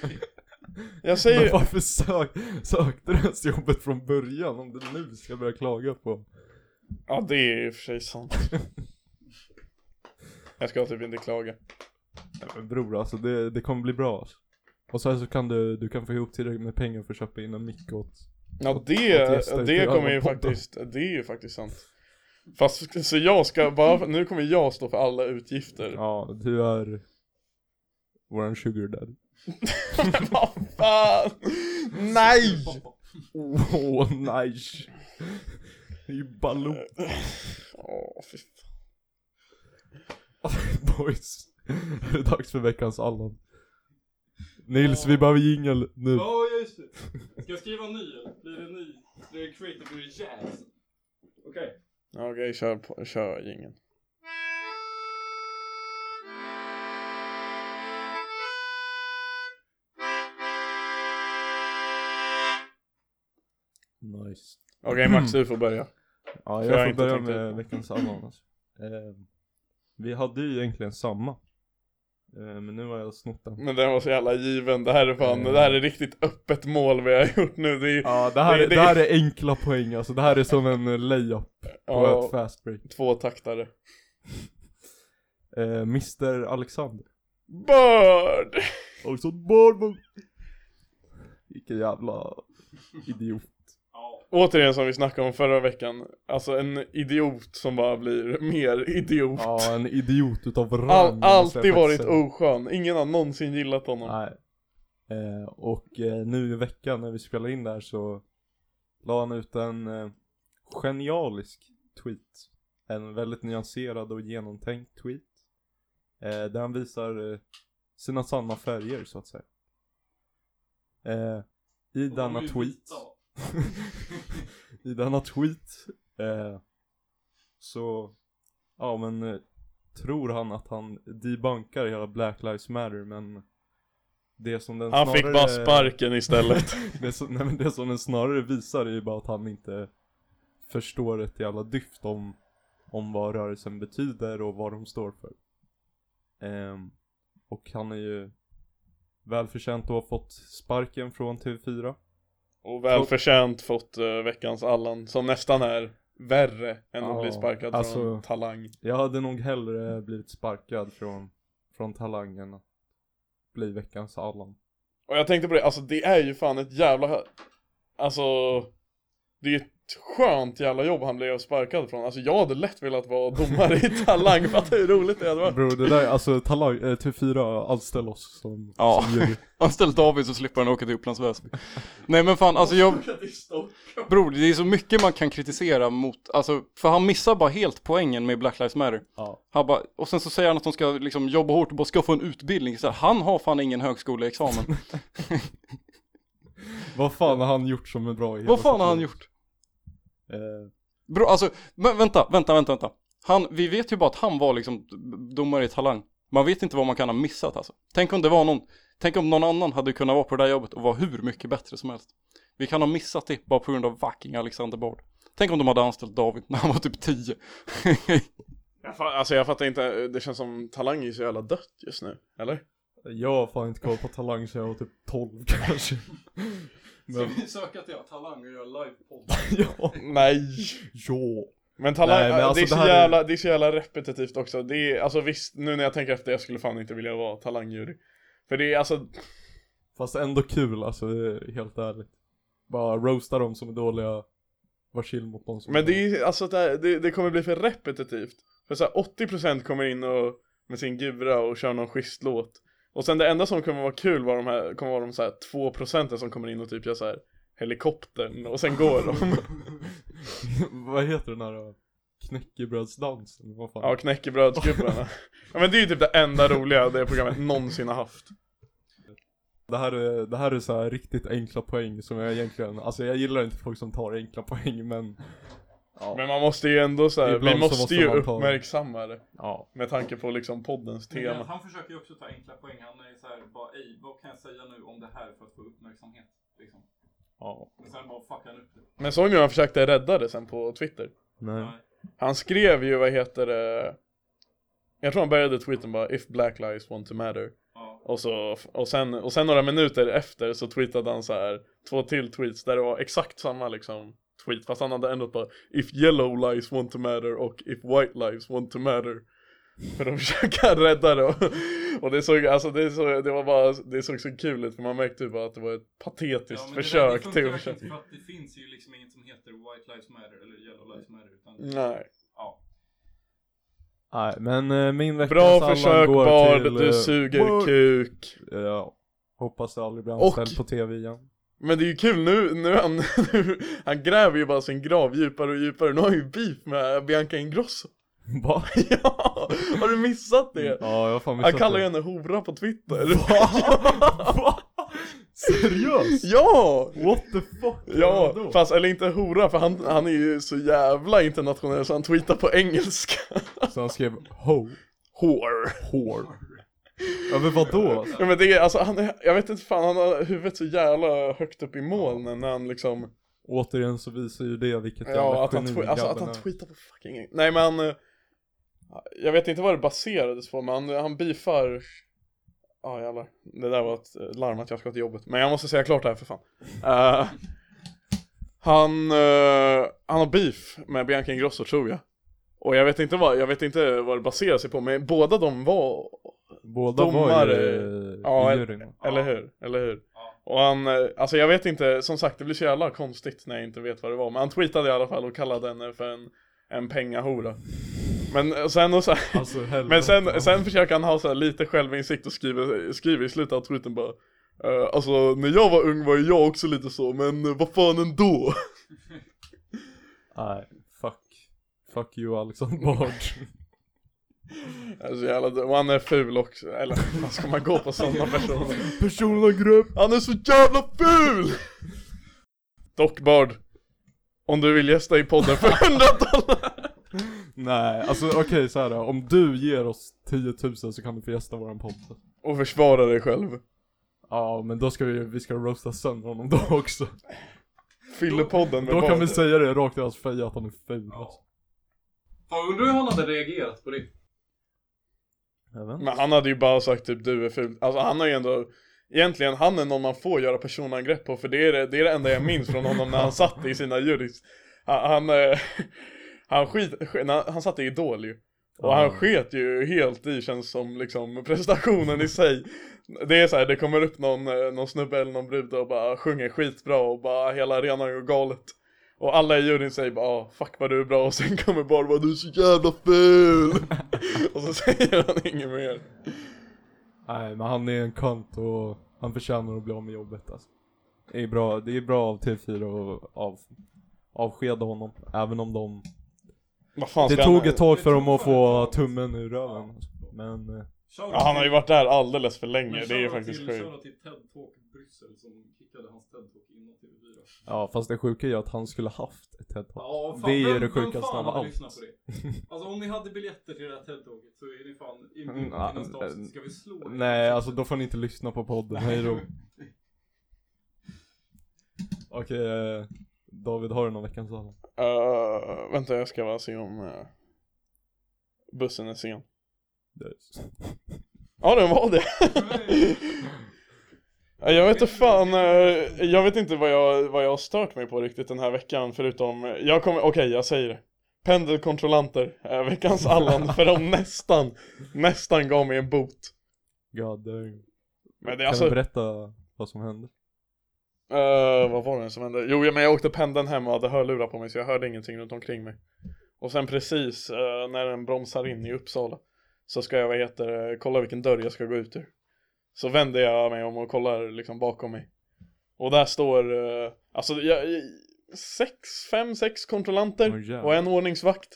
Jag
Men
säger,
varför sök, sökte du ens jobbet från början om du nu ska börja klaga på?
ja det är i och för sig sant Jag ska typ inte klaga
Nej, Men bror alltså det, det kommer bli bra alltså. Och sen så kan du, du kan få ihop tillräckligt med pengar för att köpa in en mick åt
Ja
att
det,
gästa
det
utöver
kommer ju
podden.
faktiskt, det är ju faktiskt sant Fast så jag ska bara, nu kommer jag stå för alla utgifter
Ja, du är våran sugar daddy.
Men vad fan! Nej!
<laughs> Åh, <laughs> oh, nice! Det är ju Baloo
Åh fy fan.
<laughs> boys. Är det dags för veckans Allan? Nils, vi behöver jingel nu.
Ja, just det. Ska jag skriva en ny eller? Blir det ny? Blir det creative? Blir det jazz? Okej.
Ja, Okej, kör, på- kör jingeln
Nice.
Okej Max
Mm.
du får börja
Ja,
För jag har
jag får
inte
börja
tänkt
med
ut.
veckans Allan alltså. eh, Vi hade ju egentligen samma. Eh, men nu har jag snott den.
Men den var så jävla given, det här är fan,
Mm.
det här är riktigt öppet mål vi har <laughs> gjort nu Det är
Ja, det här,
Det-
är,
det-
det här är enkla poäng alltså. Det här är som en eh, layup på ett
ja,
fast break.
två taktare
Eh, Mr Alexander.
Bird!
Också Bournemouth. Vilken jävla idiot.
Ja.
Återigen som vi snackade om förra veckan Alltså en idiot som bara blir mer idiot
Ja, en idiot utav rang.
All,
måste jag
alltid
faktiskt
varit
säga.
oskön, ingen har någonsin gillat honom
Nej. Eh, och eh, nu i veckan när vi spelade in där så la han ut en eh, genialisk tweet. En väldigt nyanserad och genomtänkt tweet. Eh, där han visar eh, sina sanna färger så att säga. Eh, I
Och de
denna
är ju
tweet.
vita, va?
I denna tweet eh, så, ja men eh, tror han att han debunkar hela Black Lives Matter men det som den
Han
snarare,
fick bara sparken istället
<laughs> det, som, nej, men det som den snarare visar är ju bara att han inte förstår ett jävla dyft om, om vad rörelsen betyder och vad de står för. Ehm, och han är ju välförtjänt att ha fått sparken från TV4.
Och välförtjänt fått eh, veckans Allan som nästan är värre än att
Ja,
bli sparkad
alltså-
från Talang
Jag hade nog hellre blivit sparkad från, från talangen att bli veckans Allan.
Och jag tänkte på det, alltså det är ju fan ett jävla Alltså Det är ju ett skönt jävla jobb han blev sparkad från. Alltså jag hade lätt velat vara domare i Talang, <laughs> fatta hur roligt det hade varit.
Bro, det där, alltså talang, eh, TV4 anställ oss som,
Ja.
som jury.
Anställ David så slipper han åka till Upplands Väsby. Nej men fan, alltså jag... Bror, det är så mycket man kan kritisera mot, alltså, för han missar bara helt poängen med Black Lives Matter.
Ja.
Han bara, och sen så säger han att de ska liksom jobba hårt och bara ska få en utbildning. Så här, han har fan ingen högskoleexamen.
Vad fan har han gjort som är bra i hela
Vad fan har han
sitt
gjort?
liv? Eh,
Bro, alltså, men vänta, vänta, vänta, vänta. Han, vi vet ju bara att han var liksom domare i Talang. Man vet inte vad man kan ha missat alltså. Tänk om det var någon, tänk om någon annan hade kunnat vara på det där jobbet och vara hur mycket bättre som helst. Vi kan ha missat det bara på grund av fucking Alexander Bard. Tänk om de hade anställt David när han var typ 10.
Jag fa- alltså jag fattar inte, det känns som Talang är så jävla dött just nu, eller?
jag har fan inte koll på talang sen jag var typ 12 <laughs> kanske.
Ska
Men, <laughs>
vi söka till Talang och göra livepodd?
ja.
Nej!
ja.
Men Talang,
Nej, men alltså
det, är
det
så
här är-
jävla, det är så jävla repetitivt också. Det är, alltså visst, nu när jag tänker efter, jag skulle fan inte vilja vara Talangjury. För det är alltså,
Fast ändå kul alltså, det är helt ärligt. Bara roasta dem som är dåliga, var chill mot dem som
men
är
det är alltså det, här, det, det kommer bli för repetitivt. För såhär 80% kommer in och, med sin gura och kör någon schysst låt. Och sen det enda som kommer vara kul var de här, kommer vara de såhär 2% som kommer in och typ gör såhär helikoptern och sen
<laughs>
går de.
Vad heter den här då? knäckebrödsdansen? Vad fan?
Ja, knäckebrödsgubbarna. Ja men det är ju typ det enda roliga det programmet någonsin har haft.
Det, här är, det här är så här riktigt enkla poäng som jag egentligen, alltså jag gillar inte folk som tar enkla poäng men
Men man måste ju ändå så här,
Ibland
vi
så
måste,
måste
ju
man ta-
uppmärksamma det.
ja.
Med tanke på liksom poddens tema.
eh, Han försöker ju också ta enkla poäng. Han är så här, bara ej, vad kan jag säga nu om det här för att få uppmärksamhet? Liksom.
ja.
Men sen bara fuckar han upp det.
Men såg ni hur han försökte rädda det sen på Twitter?
Nej.
Nej.
Han skrev ju, vad heter det? Jag tror han började tweeten bara 'If black lives want to matter'
Ja.
och, så, och, sen, och sen några minuter efter så tweetade han så här två till tweets där det var exakt samma liksom tweet fast han hade ändå bara 'If yellow lives want to matter' och 'If white lives want to matter' För <laughs> de försöker rädda det och, och det såg, alltså det, såg, det var bara, det såg så kul ut för man märkte ju bara att det var ett
Ja,
patetiskt
men det där-
försök typ. till
det funkar
att
verkligen
försöka.
inte för att det finns ju liksom inget som heter White Lives Matter eller Yellow Lives
Mm.
Matter utan
Mm.
Nej.
ja.
Nej men eh, min veckans
Bra
Allan
försök
går
Bard,
till,
du
eh,
suger
Bard.
kuk.
eh, Ja. Hoppas jag aldrig blir
Och-
anställd på tv igen. <laughs>
Men det är ju kul nu, nu han, <laughs> nu, han gräver ju bara sin grav djupare och djupare. Nu har han ju beef med Bianca Ingrosso. <laughs>
Va?
Ja, har du missat det?
Ja jag har fan
Han
Mm. missat
kallar ju
det.
henne hora på Twitter. <laughs>
Va? Seriöst?
Ja!
What the fuck?
Ja,
Vadå?
fast eller inte hora för han, han är ju så jävla internationell så han tweetar på engelska. <laughs>
Så han skrev ho.
Hår.
Hår. Ja men vadå?
Ja men det är alltså, han är, jag vet inte fan, han har huvudet så jävla högt upp i molnen när han liksom
Återigen så visar ju det vilket
Ja, att han,
geni
twi- alltså, att
grabben
han
är.
tweetar på fucking... Nej men han... eh, Jag vet inte vad det baserades på, men han, han beefar... Ja jävlar. Det där var ett eh, larm att jag ska till jobbet. Men jag måste säga klart det här för fan. Eh, han, eh, han har beef med Bianca Ingrosso tror jag. Och jag vet inte vad, jag vet inte vad det baserar sig på, men båda de var...
Båda var
domare-
ju
Ja,
ja, i
en-
juryn.
Eller
Ja.
hur? Eller hur?
Ja.
Och han, eh, alltså jag vet inte, som sagt det blir så jävla konstigt när jag inte vet vad det var Men han tweetade i alla fall och kallade henne för en, en pengahora Men eh, sen och så <laughs> här,
Alltså helvete.
men sen, sen försöker han ha så här lite självinsikt och skriver, skriver i slutet av tweeten bara eh, Alltså när jag var ung var ju jag också lite så, men eh, vad fan ändå?
Nej, fuck. Fuck you Alexander Bard.
Alltså jävla dum, och han är ful också, eller vad ska man gå
<laughs>
på sådana personer?
Personangrepp!
Han är så jävla ful! Dock Bard, om du vill gästa i podden för <laughs> 100 dollar
<laughs> Nej, alltså okej så här då. Om du ger oss 10 000 så kan du få gästa våran podd.
Och försvara dig själv
Ja, men då ska vi, vi ska roasta sönder honom då också.
Fyller podden med
Då kan
barn.
vi säga det rakt i hans feja att han är ful alltså.
Fan, undrar hur han hade reagerat på det?
Jag vet inte.
Men han hade ju bara sagt typ du är ful Alltså han har ju ändå Egentligen han är någon man får göra personangrepp på För det är det, det, är det enda jag minns från honom när han satt i sina jurys Han, han, eh, <laughs> han skit, sk- när han, han satt i Idol ju och
Ah.
han sket ju helt i känns som liksom prestationen i sig Det är så här, det kommer upp någon, eh, någon snubbe eller någon brud och bara sjunger skitbra och bara hela arenan går galet Och alla i juryn säger bara ah, 'fuck vad du är bra' och sen kommer Bard bara 'du är så jävla ful' <laughs> Och så säger han inget mer
Nej, men han är en kant och han förtjänar att bli av med jobbet alltså. Det är bra, det är bra av TV4 att av, avskeda honom, även om de...
Vad fan
Alltså,
Det
ska han-
tog ett tag för dem att få tummen ur röven. alltså. Men... eh,
Shoutout
ja, Han har ju varit där alldeles för
till-
länge, det är ju
shoutout
faktiskt
till-
sjukt
Shoutout till TED Talk Bryssel som kickade hans TED Talk innan TV4.
Ja, fast det sjuka är ju att han skulle haft ett TED Talk.
Ja,
Det är ju
vem-
det sjukaste
vem
av
fan hade
allt.
lyssnat på det? Alltså om ni hade biljetter till det här TED-tåget så är ni fan inbjudna
Mm,
till
ja,
nästa avsnitt.
eh,
Ska vi slå er?
Nej, alltså då får ni inte lyssna på podden, hejdå. Okej, eh, David har du någon veckans sallad?
Eh, Vänta jag ska bara se om eh, bussen är sen
Det är-
Ja
<laughs>
den var det
Nej.
Ja, Jag vet inte fan, eh, jag vet inte vad jag, vad jag har stört mig på riktigt den här veckan förutom, jag kommer, okej jag säger det Pendelkontrollanter, är
<laughs>
veckans Allan för de nästan, nästan gav mig en bot
God damn.
Men det är
Kan
alltså,
du berätta vad som hände?
eh, vad var det som hände? Jo ja, men jag åkte pendeln hem och hade hörlurar på mig så jag hörde ingenting runt omkring mig Och sen precis eh, när den bromsar in i Uppsala Så ska jag, vad heter det, kolla vilken dörr jag ska gå ut ur Så vänder jag mig om och kollar liksom bakom mig Och där står, eh, alltså jag, jag- sex, fem, sex kontrollanter
Åh, jävlar.
och en ordningsvakt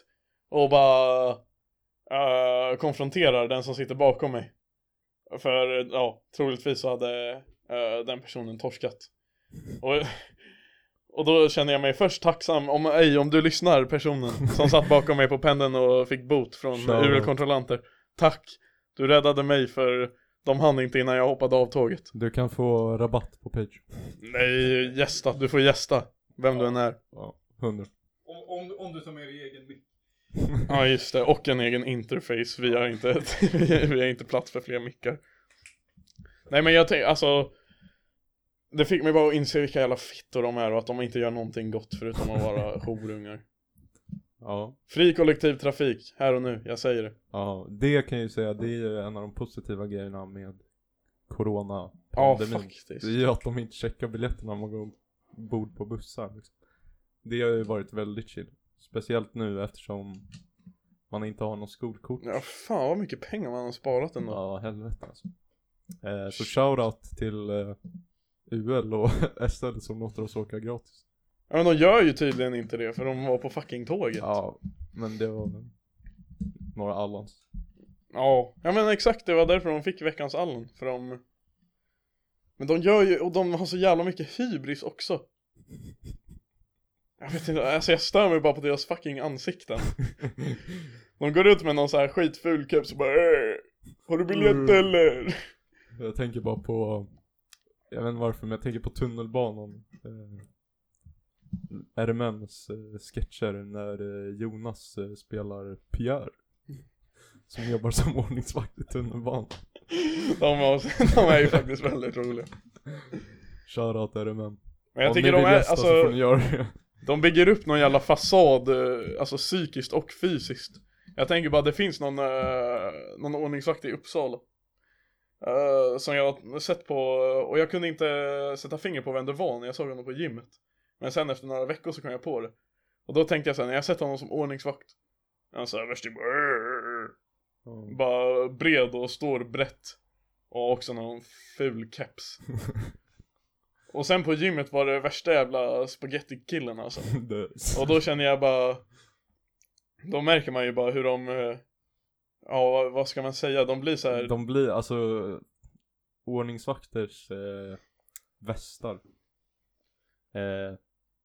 Och bara eh, konfronterar den som sitter bakom mig För, eh, ja, troligtvis så hade eh, den personen torskat Och <laughs> och då känner jag mig först tacksam om, ej, om du lyssnar personen som satt bakom mig på pendeln och fick bot från
Shoutout.
UL-kontrollanter Tack, du räddade mig för de hann inte innan jag hoppade av tåget
Du kan få rabatt på Patreon.
Nej, gästa, du får gästa Vem du än är
Ja, 100.
Om, om, om du tar med dig egen mick.
Ja just det, och en egen interface, vi har inte, <laughs> vi har inte plats för fler mickar Nej men jag tänkte, alltså Det fick mig bara att inse vilka jävla fittor de är och att de inte gör någonting gott förutom att vara
<laughs>
horungar
Ja.
Fri kollektivtrafik, här och nu, jag säger det
Ja, det kan jag ju säga, det är ju en av de positiva grejerna med corona
Ja,
pandemin.
faktiskt.
Det är ju att de inte checkar biljetterna när man går ombord på bussar liksom. Det har ju varit väldigt chill. Speciellt nu eftersom man inte har någon skolkort.
Ja, fan vad mycket pengar man har sparat ändå.
Ja, helvete alltså. Eh, så shoutout till eh, UL och <laughs> SL som låter oss åka gratis.
Ja, men de gör ju tydligen inte det för de var på fucking tåget.
Ja, men det var några allans. <laughs>
Ja, ja men exakt det var därför de fick veckans Allen. För de... Men de gör ju, och de har så jävla mycket hybris också. Jag vet inte, alltså jag stör mig bara på deras fucking ansikten. De går ut med någon så här skitful keps och bara "Äh, Har du biljett
Mm.
eller?
Jag tänker bara på, jag vet inte varför, men jag tänker på tunnelbanan. Eh, RMMs eh, sketcher när eh, Jonas eh, spelar Pierre. Som jobbar som ordningsvakt i tunnelbanan.
De, har, <laughs> de är ju faktiskt väldigt roliga.
Shoutout RMM.
Men jag
Om
tycker
ni
de
vill
är,
gästa så
alltså
får ni göra
<laughs>
det.
De bygger upp någon jävla fasad, eh, alltså psykiskt och fysiskt. Jag tänker bara, det finns någon, eh, någon ordningsvakt i Uppsala. eh, som jag har sett på, och jag kunde inte eh, sätta finger på vem det var när jag såg honom på gymmet. Men sen efter några veckor så kom jag på det. Och då tänkte jag såhär, när jag sett honom som ordningsvakt. Han såhär värst typ "Arr",
Ja.
bara bred och står brett. Och också någon ful keps. och sen på gymmet var det värsta jävla spagettikillen alltså.
Det-
Och då känner jag bara Då märker man ju bara hur de eh, Ja vad- vad ska man säga, de blir så här.
De blir alltså ordningsvakters eh, västar. Eh,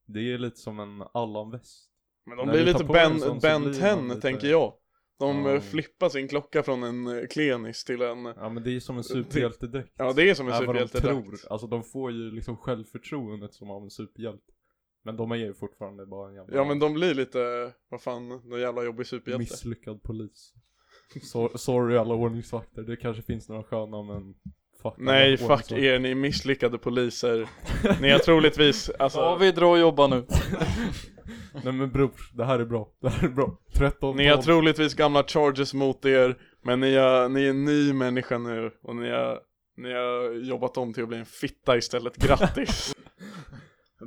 det är lite som en Allan-väst.
men de
när
blir
du
lite
tar på
Ben,
en sån så
ben
blir
10
man lite-
tänker jag De
Ja.
eh, flippar sin klocka från en eh, klenis till en
Ja men det är som en superhjältedräkt.
Ja det är som en
Är vad de
superhjältedräkt
tror. Alltså de får ju liksom självförtroendet som av en superhjälte. Men de är ju fortfarande bara en jävla
Ja men de blir lite, vad fan, någon jävla jobbig superhjälte
misslyckad polis. So- sorry alla ordningsvakter, det kanske finns några sköna men fuck alla
Nej fuck
ordningsvakter.
er, ni är misslyckade poliser Ni har troligtvis, alltså
David, dra och jobba nu.
Nej men bror, det här är bra. Det här är bra. 13
Ni har
ton.
troligtvis gamla charges mot er, men ni är, ni är en ny människa nu och ni har, ni har jobbat om till att bli en fitta istället, grattis!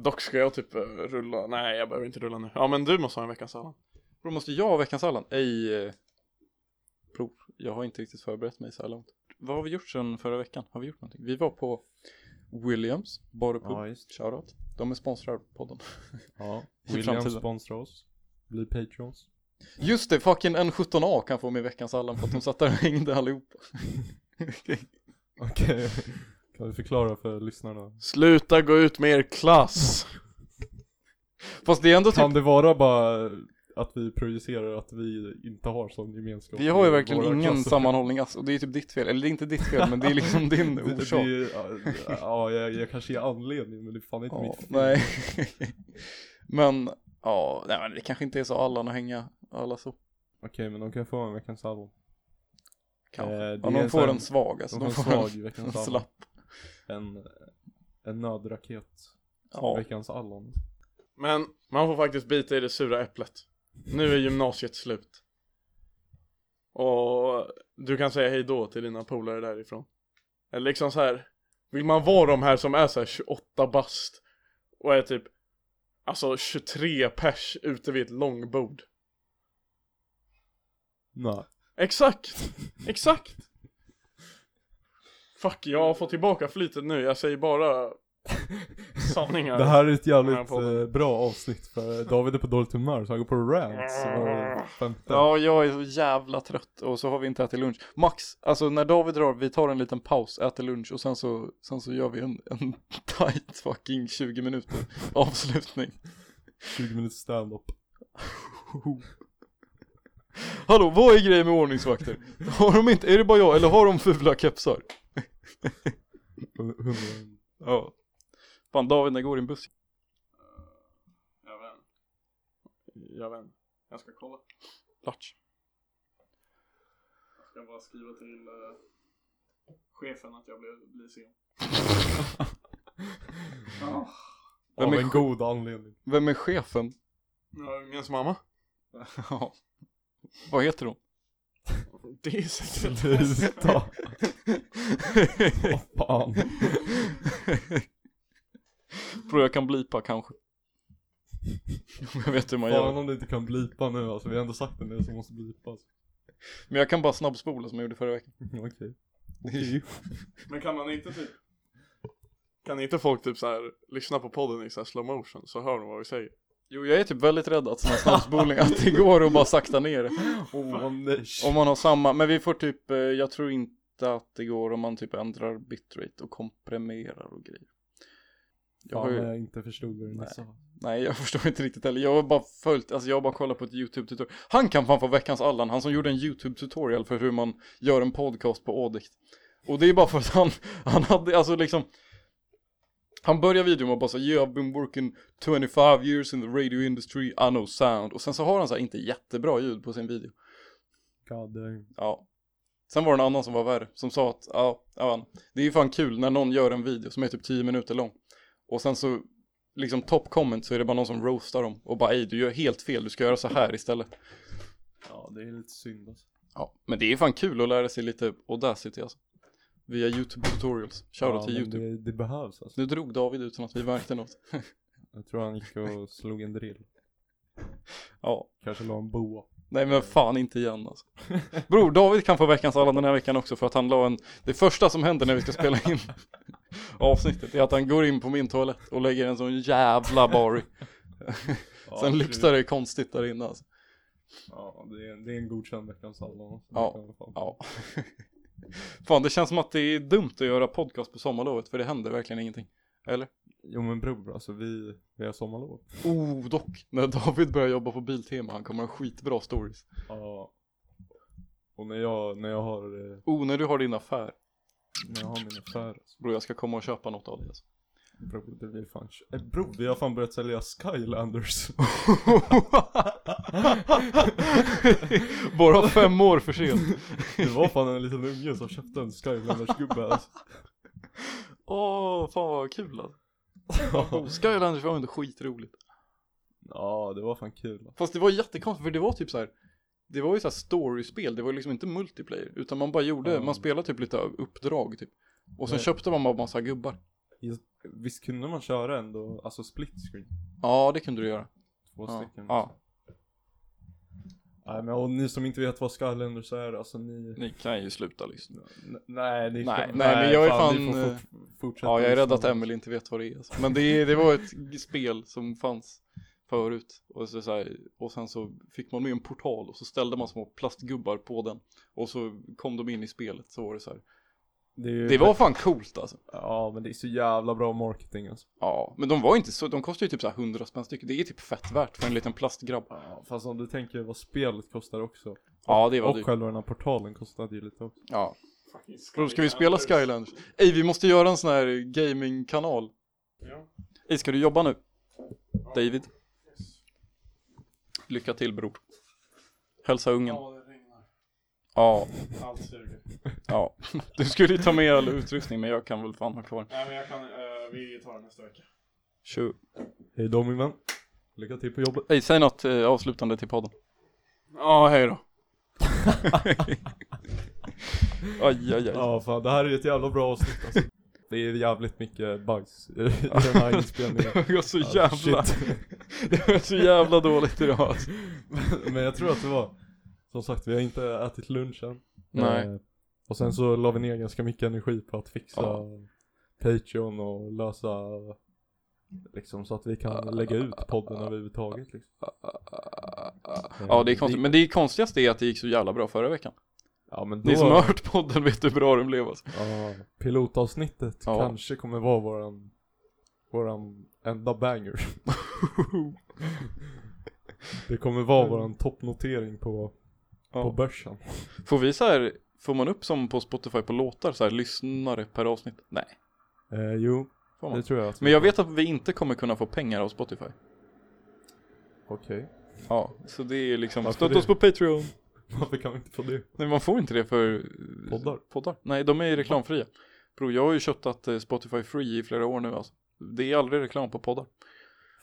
Dock ska jag typ eh, rulla, nej jag behöver inte rulla nu. Ja men du måste ha en veckans sallad.
Då måste jag ha veckans Allan? Ej, eh, bror, jag har inte riktigt förberett mig så här långt. Vad har vi gjort sedan förra veckan? Har vi gjort någonting? Vi var på Williams, Bar och Pub,
Ja, just.
shoutout. De är sponsrar av podden.
Ja.
I
William
framtiden.
sponsrar oss. Bli patrons.
Just det, fucking N17A kan få med veckans Allan för att de satt där och hängde allihopa.
Okej. <laughs> Kan du förklara för lyssnarna?
Sluta gå ut med er klass!
Fast det är ändå typ
Kan det vara bara att vi projicerar att vi inte har sån gemenskap?
Vi har ju
i
verkligen
våra
ingen
klasser?
sammanhållning alls, och det är typ ditt fel, eller det är inte ditt fel men det
<laughs>
är liksom din
Det- det-
orsak.
det är- ja, ja, jag, jag kanske ger anledning men det är fan inte
ja,
mitt fel.
nej. <laughs> men, ja, nej men det kanske inte är så Allan att hänga alla
Eh,
så.
Okej men de kan få en veckans album.
Kanske.
Eh, det
ja,
är
de
en
får
sån-
en svag alltså,
de får en svag veckans
<laughs> en
album.
slapp.
En, en nödraket.
Ja.
Veckans allon.
Men man får faktiskt bita i det sura äpplet. Nu är gymnasiet slut. Och du kan säga hej då till dina polare därifrån. Eller liksom så här. Vill man vara de här som är så här 28 bast och är typ alltså 23 pers ute vid ett långbord?
Nej.
Exakt! Exakt! Fuck, jag har fått tillbaka flytet nu. Jag
<laughs>
säger bara sanningar.
Det här är ett
Den här
jävligt
podden.
eh, bra avsnitt för David är på dåligt humör så han går på rants var femte.
ja, jag är så jävla trött och så har vi inte ätit lunch. Max, alltså när David drar, vi tar en liten paus, äter lunch och sen så, sen så gör vi en, en <laughs> tight fucking 20 minuter avslutning.
20 minuter stand-up.
Hallå, vad är grejen med ordningsvakter? Har de inte, är det bara jag, eller har de fula kepsar?
Hundra-
Ja. Fan David, när går din buss?
Jag vet. Jag vet. Jag ska kolla.
Latch.
Jag bara skriva till eh, chefen att jag blir, blir sen. Ja,
Av
Vem är
en
sj-
god anledning. <laughs>
Vem är chefen?
ungens mamma.
Ja. Vad heter hon?
Det är säkert
Tisdag. Åh fan.
<laughs> Tror jag kan blipa kanske. Om jag vet hur man
Fan
gör.
om du inte kan blipa nu alltså. Vi har ändå sagt en del som måste blipas. <laughs>
Men jag kan bara snabbspola som jag gjorde förra veckan.
Okej.
<laughs>
Men kan man inte typ Kan inte folk typ så här lyssna på podden i så här slow motion så hör de vad vi säger?
Jo, jag är typ väldigt rädd att såna <laughs> snabbspolningar, att det går att bara sakta ner det.
Åh nej.
Om man har samma, men vi får typ, eh, jag tror inte att det går om man typ ändrar bitrate och komprimerar och grejer. Jag har
Fan
ju,
jag inte förstod vad du
Nej.
nyss sa.
nej jag <laughs> förstår inte riktigt heller, jag har bara följt, alltså jag har bara kollat på ett YouTube-tutorial. Han kan fan få veckans Allan, han som gjorde en YouTube-tutorial för hur man gör en podcast på Audict. Och det är bara för att han, <laughs> han hade, alltså liksom, han börjar videon med att bara säga yeah, I've been working 25 years in the radio industry, I know sound. Och sen så har han så här inte jättebra ljud på sin video.
God damn.
Ja. Sen var det en annan som var värre, som sa att ja, ja, det är ju fan kul när någon gör en video som är typ 10 minuter lång. Och sen så, liksom top comment så är det bara någon som roastar dem och bara ej, du gör helt fel, du ska göra så här istället.
Ja det är lite synd alltså.
Ja, men det är ju fan kul att lära sig lite Audacity alltså. Via YouTube tutorials, shoutout
Ja,
till
men
YouTube.
Det, det behövs alltså.
Nu drog David utan att vi märkte något.
Jag tror han gick och <laughs> slog en drill.
Ja,
Kanske la en boa.
nej men fan inte igen alltså. Bror, David kan få veckans Allan den här veckan också för att han la en, det första som händer när vi ska spela in avsnittet är att han går in på min toalett och lägger en sån jävla Bari.
Ja,
Sen
det-
luktar det konstigt där inne alltså.
Ja, det är, det är en godkänd veckans alltså. allon.
Ja. Ja. Fan, det känns som att det är dumt att göra podcast på sommarlovet för det händer verkligen ingenting. Eller?
Jo men bror, alltså vi, vi har sommarlov.
Oh, dock. När David börjar jobba på Biltema, han kommer ha skitbra stories.
Ja. Och när jag, när jag har, eh,
Oh, när du har din affär.
när jag har min affär. alltså,
Bror, jag ska komma och köpa något av dig alltså.
Bror, det blir fan, eh, bror vi har fan börjat sälja Skylanders. <laughs>
<laughs> Bara fem år för sent.
Det var fan en liten unge som köpte en Skylanders-gubbe
<laughs>
alltså.
Åh, fan vad kul alltså. Oh, Skylanders var ändå skitroligt.
Ja, det var fan kul. alltså.
Fast det var jättekonstigt för det var typ så här. Det var ju så här storyspel, det var ju liksom inte multiplayer. Utan man bara gjorde,
Ja.
man spelade typ lite uppdrag typ. Och sen
Nej.
köpte man bara massa gubbar.
Just- Visst kunde man köra ändå, alltså split screen?
Ja, det kunde du göra.
Två
Ja,
stycken.
ja.
Nej men och ni som inte vet vad Skylanders är, alltså ni...
Ni kan ju sluta lyssna.
N- nej, ni
Nej, nej, men jag är fan,
ni får
eh,
fort, fortsätta
Ja, jag är rädd
lyssna.
att Emil inte vet vad det är. alltså. Men det, är- det var ett g- spel som fanns förut. Och, så, så här, och sen så fick man med en portal och så ställde man små plastgubbar på den. Och så kom de in i spelet så var det så här.
Det, är ju,
Det var fan coolt alltså.
Ja men det är så jävla bra marketing alltså.
Ja, men de var ju inte så, de kostar ju typ så här 100 spänn styck. Det är typ fett värt för en liten plastgrabb.
Ja, fast om du tänker vad spelet kostar också.
Ja, det var
Och
dyrt.
själva den här portalen kostade ju lite också.
Ja.
Fucking
Då ska vi spela Skylanders. Ey, vi måste göra en sån här gamingkanal.
Ja.
Ey, ska du jobba nu? David? Lycka till bror. Hälsa ungen.
Ja, det regnar.
Ja,
Allt suger.
ja. Du skulle ju ta med all utrustning men jag kan väl fan ha kvar.
Nej men jag kan, eh, vi tar det nästa vecka.
Tjo.
Hej då min vän. Lycka till på jobbet.
Ey, säg något eh, avslutande till podden.
Ja,
<laughs>
hej då.
Aj, aj, aj.
Ja fan det här är ju ett jävla bra avsnitt alltså. Det är jävligt mycket bugs i <laughs> i den här inspelningen.
Det var så
Ja,
jävla,
shit.
<laughs> det var så jävla dåligt idag alltså.
Men jag tror att det var, som sagt vi har inte ätit lunch än.
Nej. Mm.
Eh, och sen så la vi ner ganska mycket energi på att fixa
Ja.
Patreon och lösa liksom så att vi
Ah,
kan lägga ut podden överhuvudtaget liksom.
ah,
Eh,
Ja, det är konstigt. Men det konstigaste är att det gick så jävla bra förra veckan.
Ja men då,
Ni som har hört podden vet hur bra den blev alltså.
ja, pilotavsnittet
Ja.
kanske kommer vara våran, våran enda
<laughs>
banger. det kommer vara våran toppnotering på, på
Mm. Ja.
börsen.
Får vi så här, får man upp som på Spotify på låtar så här lyssnare per avsnitt? Nej,
Eh, jo,
får
det
man.
tror jag att
Men jag vet att vi inte kommer kunna få pengar av Spotify.
Okej. <laughs>
Ja, så det är liksom,
Varför
stötta
det?
oss på Patreon.
Varför kan vi inte få det?
Nej, man får inte det för eh,
Poddar?
poddar. Nej, de är ju reklamfria. Bro, jag har ju köttat eh, Spotify Free i flera år nu alltså. Det är aldrig reklam på poddar.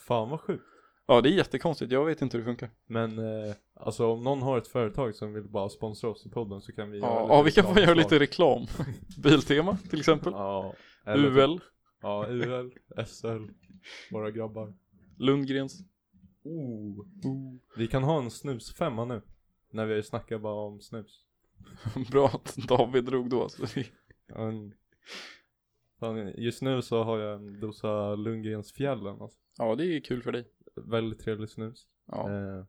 Fan vad sjukt.
Ja, det är jättekonstigt. Jag vet inte hur det funkar.
Men eh, alltså om någon har ett företag som vill bara sponsra oss i podden så kan vi göra
Ja,
lite
ja vi kan få göra
reklaminslag.
lite reklam. <laughs> Biltema till exempel.
Ja, eller, typ,
UL,
ja, UL, SL, våra grabbar.
Lundgrens. <laughs>
Oh. Vi kan ha en snusfemma nu. När vi snackar bara om snus.
Bra att David drog då alltså. Det-
En... Fan, Just nu så har jag en dosa Lundgrens fjällen. Alltså.
Ja, det är kul för dig.
Väldigt trevlig snus.
Ja.
Eh,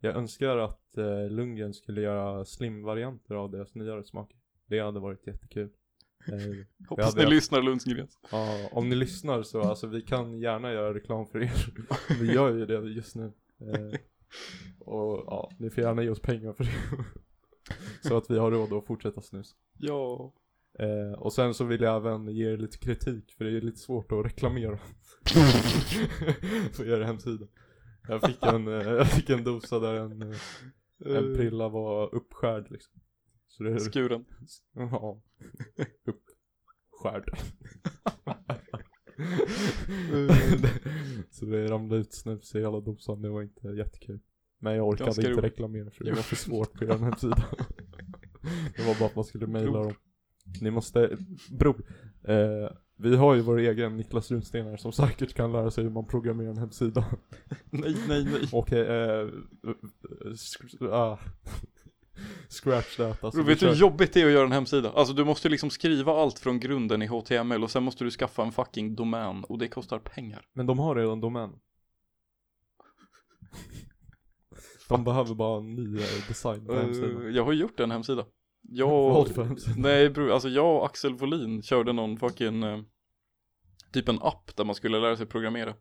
jag önskar att eh, Lundgren skulle göra slimvarianter av deras nyare smaker. Det hade varit
<laughs>
jättekul. Eh,
Hoppas
hade
ni
jag-
lyssnar Lundsgrens.
Ja, om ni lyssnar så alltså vi kan gärna göra reklam för er. Vi gör ju det just nu. Eh, och ja, ni får gärna ge oss pengar för det. Så att vi har råd att fortsätta snus.
Ja.
Eh, och sen så vill jag även ge er lite kritik för det är lite svårt att reklamera på er hemsida. Jag fick en, eh, jag fick en dosa där en, eh, en prilla var uppskärd liksom. Så det är,
Skuren.
ja, uppskärd. Så det ramlade ut snus i hela dosan, det var inte jättekul. Men jag orkade
Ganska
inte
roligt.
reklamera för det var för svårt på er hemsida. det var bara att man skulle mejla
Bror.
dem. Ni måste, bror. Eh, vi har ju vår egen Niklas Runsten här som säkert kan lära sig hur man programmerar en hemsida.
Nej, nej, nej.
Okej, eh, sk- ah. <laughs> Scratch that alltså.
Bro,
vi
vet du
kör-
hur jobbigt det är att göra en hemsida? Alltså du måste liksom skriva allt från grunden i HTML och sen måste du skaffa en fucking domän och det kostar pengar.
Men de har redan domän. De behöver bara en ny eh, design på hemsidan.
Eh, jag har ju gjort en hemsida.
<laughs>
Jag...
Vad för hemsida?
nej bro, alltså jag och Axel Wåhlin körde någon fucking eh, typ en app där man skulle lära sig programmera.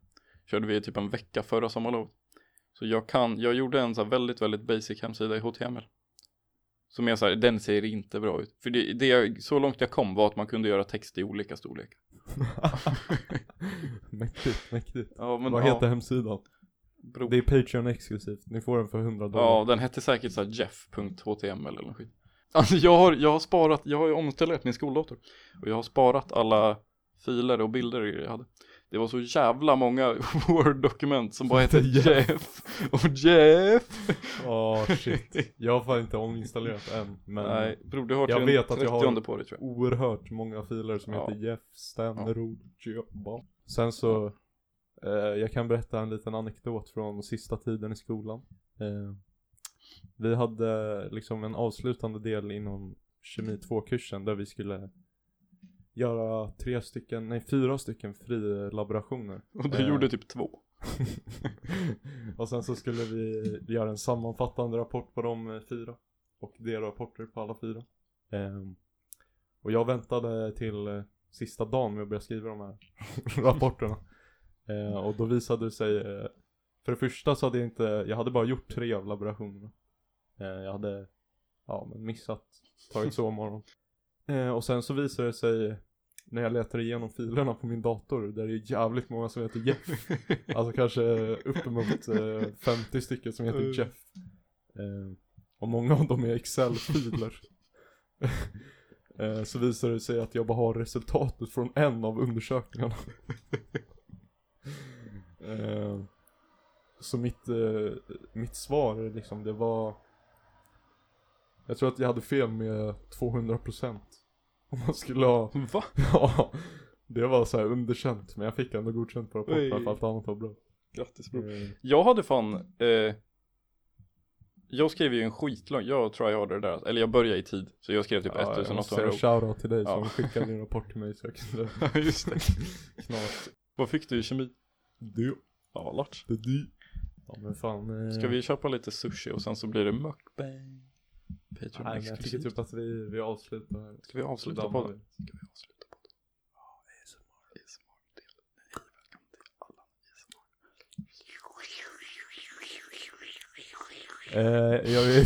Körde vi i typ en vecka förra sommarlovet. Så jag kan, jag gjorde en så här väldigt, väldigt basic hemsida i HTML. Som är så här, den ser inte bra ut. För det, det jag, så långt jag kom var att man kunde göra text i olika storlekar.
mäktigt, mäktigt.
Ja, men,
Vad
ja,
heter hemsidan?
bro.
Det är Patreon exklusivt. Ni får den för 100 dollar.
Ja, den hette säkert såhär jeff.html eller något skit. Alltså jag har, jag har sparat, jag har ju omställt min skoldator. Och jag har sparat alla filer och bilder jag hade Det var så jävla många <laughs> Word-dokument som
<laughs>
bara hette Jeff och Jeff.
Åh shit. Jag har fan inte ominstallerat än. Men
Nej, bror du har
Jag
till den
vet att jag har-
30 på dig tror jag.
oerhört många filer som
Ja.
heter Jeff Stenrod Jöba. Sen så, eh, jag kan berätta en liten anekdot från sista tiden i skolan. Eh, vi hade eh, liksom en avslutande del inom kemi 2-kursen där vi skulle göra tre stycken, nej fyra stycken frilaborationer.
Och du
Eh,
gjorde typ två.
<laughs> och sen så skulle vi göra en sammanfattande rapport på de eh, fyra. Och det är rapporter på alla fyra. Ehm, och jag väntade till eh, sista dagen med att börja skriva de här rapporterna. Eh, och då visade det sig, eh, för det första så hade jag inte, jag hade bara gjort tre av laborationerna. Eh, jag hade, ja men missat, tagit sovmorgon. Eh, och sen så visade det sig, när jag letade igenom filerna på min dator, där det är jävligt många som heter Jeff. Alltså kanske uppemot eh, 50 stycken som heter
Mm.
Jeff. Eh, och många av dem är Excel-filer. <laughs> eh, så visar det sig att jag bara har resultatet från en av undersökningarna. eh, så mitt, eh, mitt svar liksom, det var... Jag tror att jag hade fel med 200%. Om man skulle ha... <laughs>
Va?
Ja, det var så här underkänt. Men jag fick ändå godkänt på rapporten
Oj.
för allt annat var bra.
Grattis Typ bror.
Eh,
Jag hade fan, eh, jag skrev ju en skitlång, jag tryhardade där, eller jag började i tid, så jag skrev typ
ja, jag måste
1800
säga
ord.
shoutout till dig
Ja.
som skickade din rapport till mig så jag kunde
<laughs> Ja
<laughs>
just det.
knas.
Vad fick du i kemi?
Du,
Ja, vad lart.
det du. Ja men fan. eh,
Ska vi köpa lite sushi och sen så blir det mukbang?
Nej
Patreon
men jag tycker
exklusivt.
typ att vi, vi avslutar här.
Ska vi avsluta
Dammar
podden?
vi.
Ska vi avsluta podden? Ja, ASMR-del. Hej, välkommen till alla
Eh, jag, vill,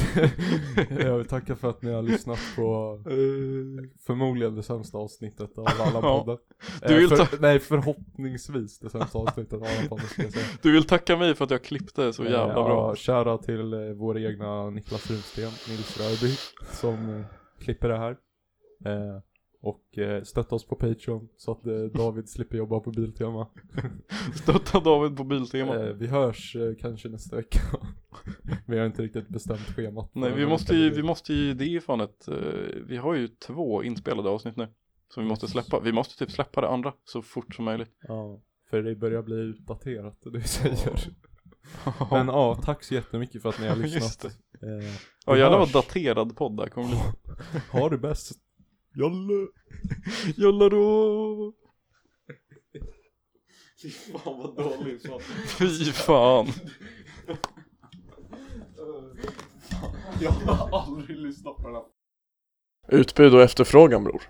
<laughs>
jag vill tacka för att ni har lyssnat på
Eh,
förmodligen det sämsta avsnittet av alla
Ja.
poddar. Eh,
Du vill
för, nej förhoppningsvis det sämsta avsnittet av alla poddar ska jag säga.
Du vill tacka mig för att jag klippte så jävla
Eh,
bra.
Ja, shoutout till eh, vår egna Niklas Runsten, Nils Röby, som eh, klipper det här. Eh, och eh, stötta oss på Patreon så att eh,
<laughs>
David slipper jobba på Biltema.
Stötta David på Biltema.
Eh, vi hörs eh, kanske nästa vecka. <laughs> vi har inte riktigt bestämt schemat.
Nej, vi måste ju, vi måste ju, det är ju fan ett, eh, vi har ju två inspelade avsnitt nu. Som vi måste släppa, vi måste typ släppa det andra så fort som möjligt.
Ja, för det börjar bli utdaterat det vi
<laughs>
säger. Men ja, tack så jättemycket för att ni har
Just
lyssnat.
det.
Eh,
Ja
vi
jävlar vad
hörs.
daterad podd det här kommer bli.
ha det bäst. Jolle.
Jalla då!
Fy fan vad dålig så.
Fy fan.
Jag har aldrig lyssnat på den här
Utbud och efterfrågan bror.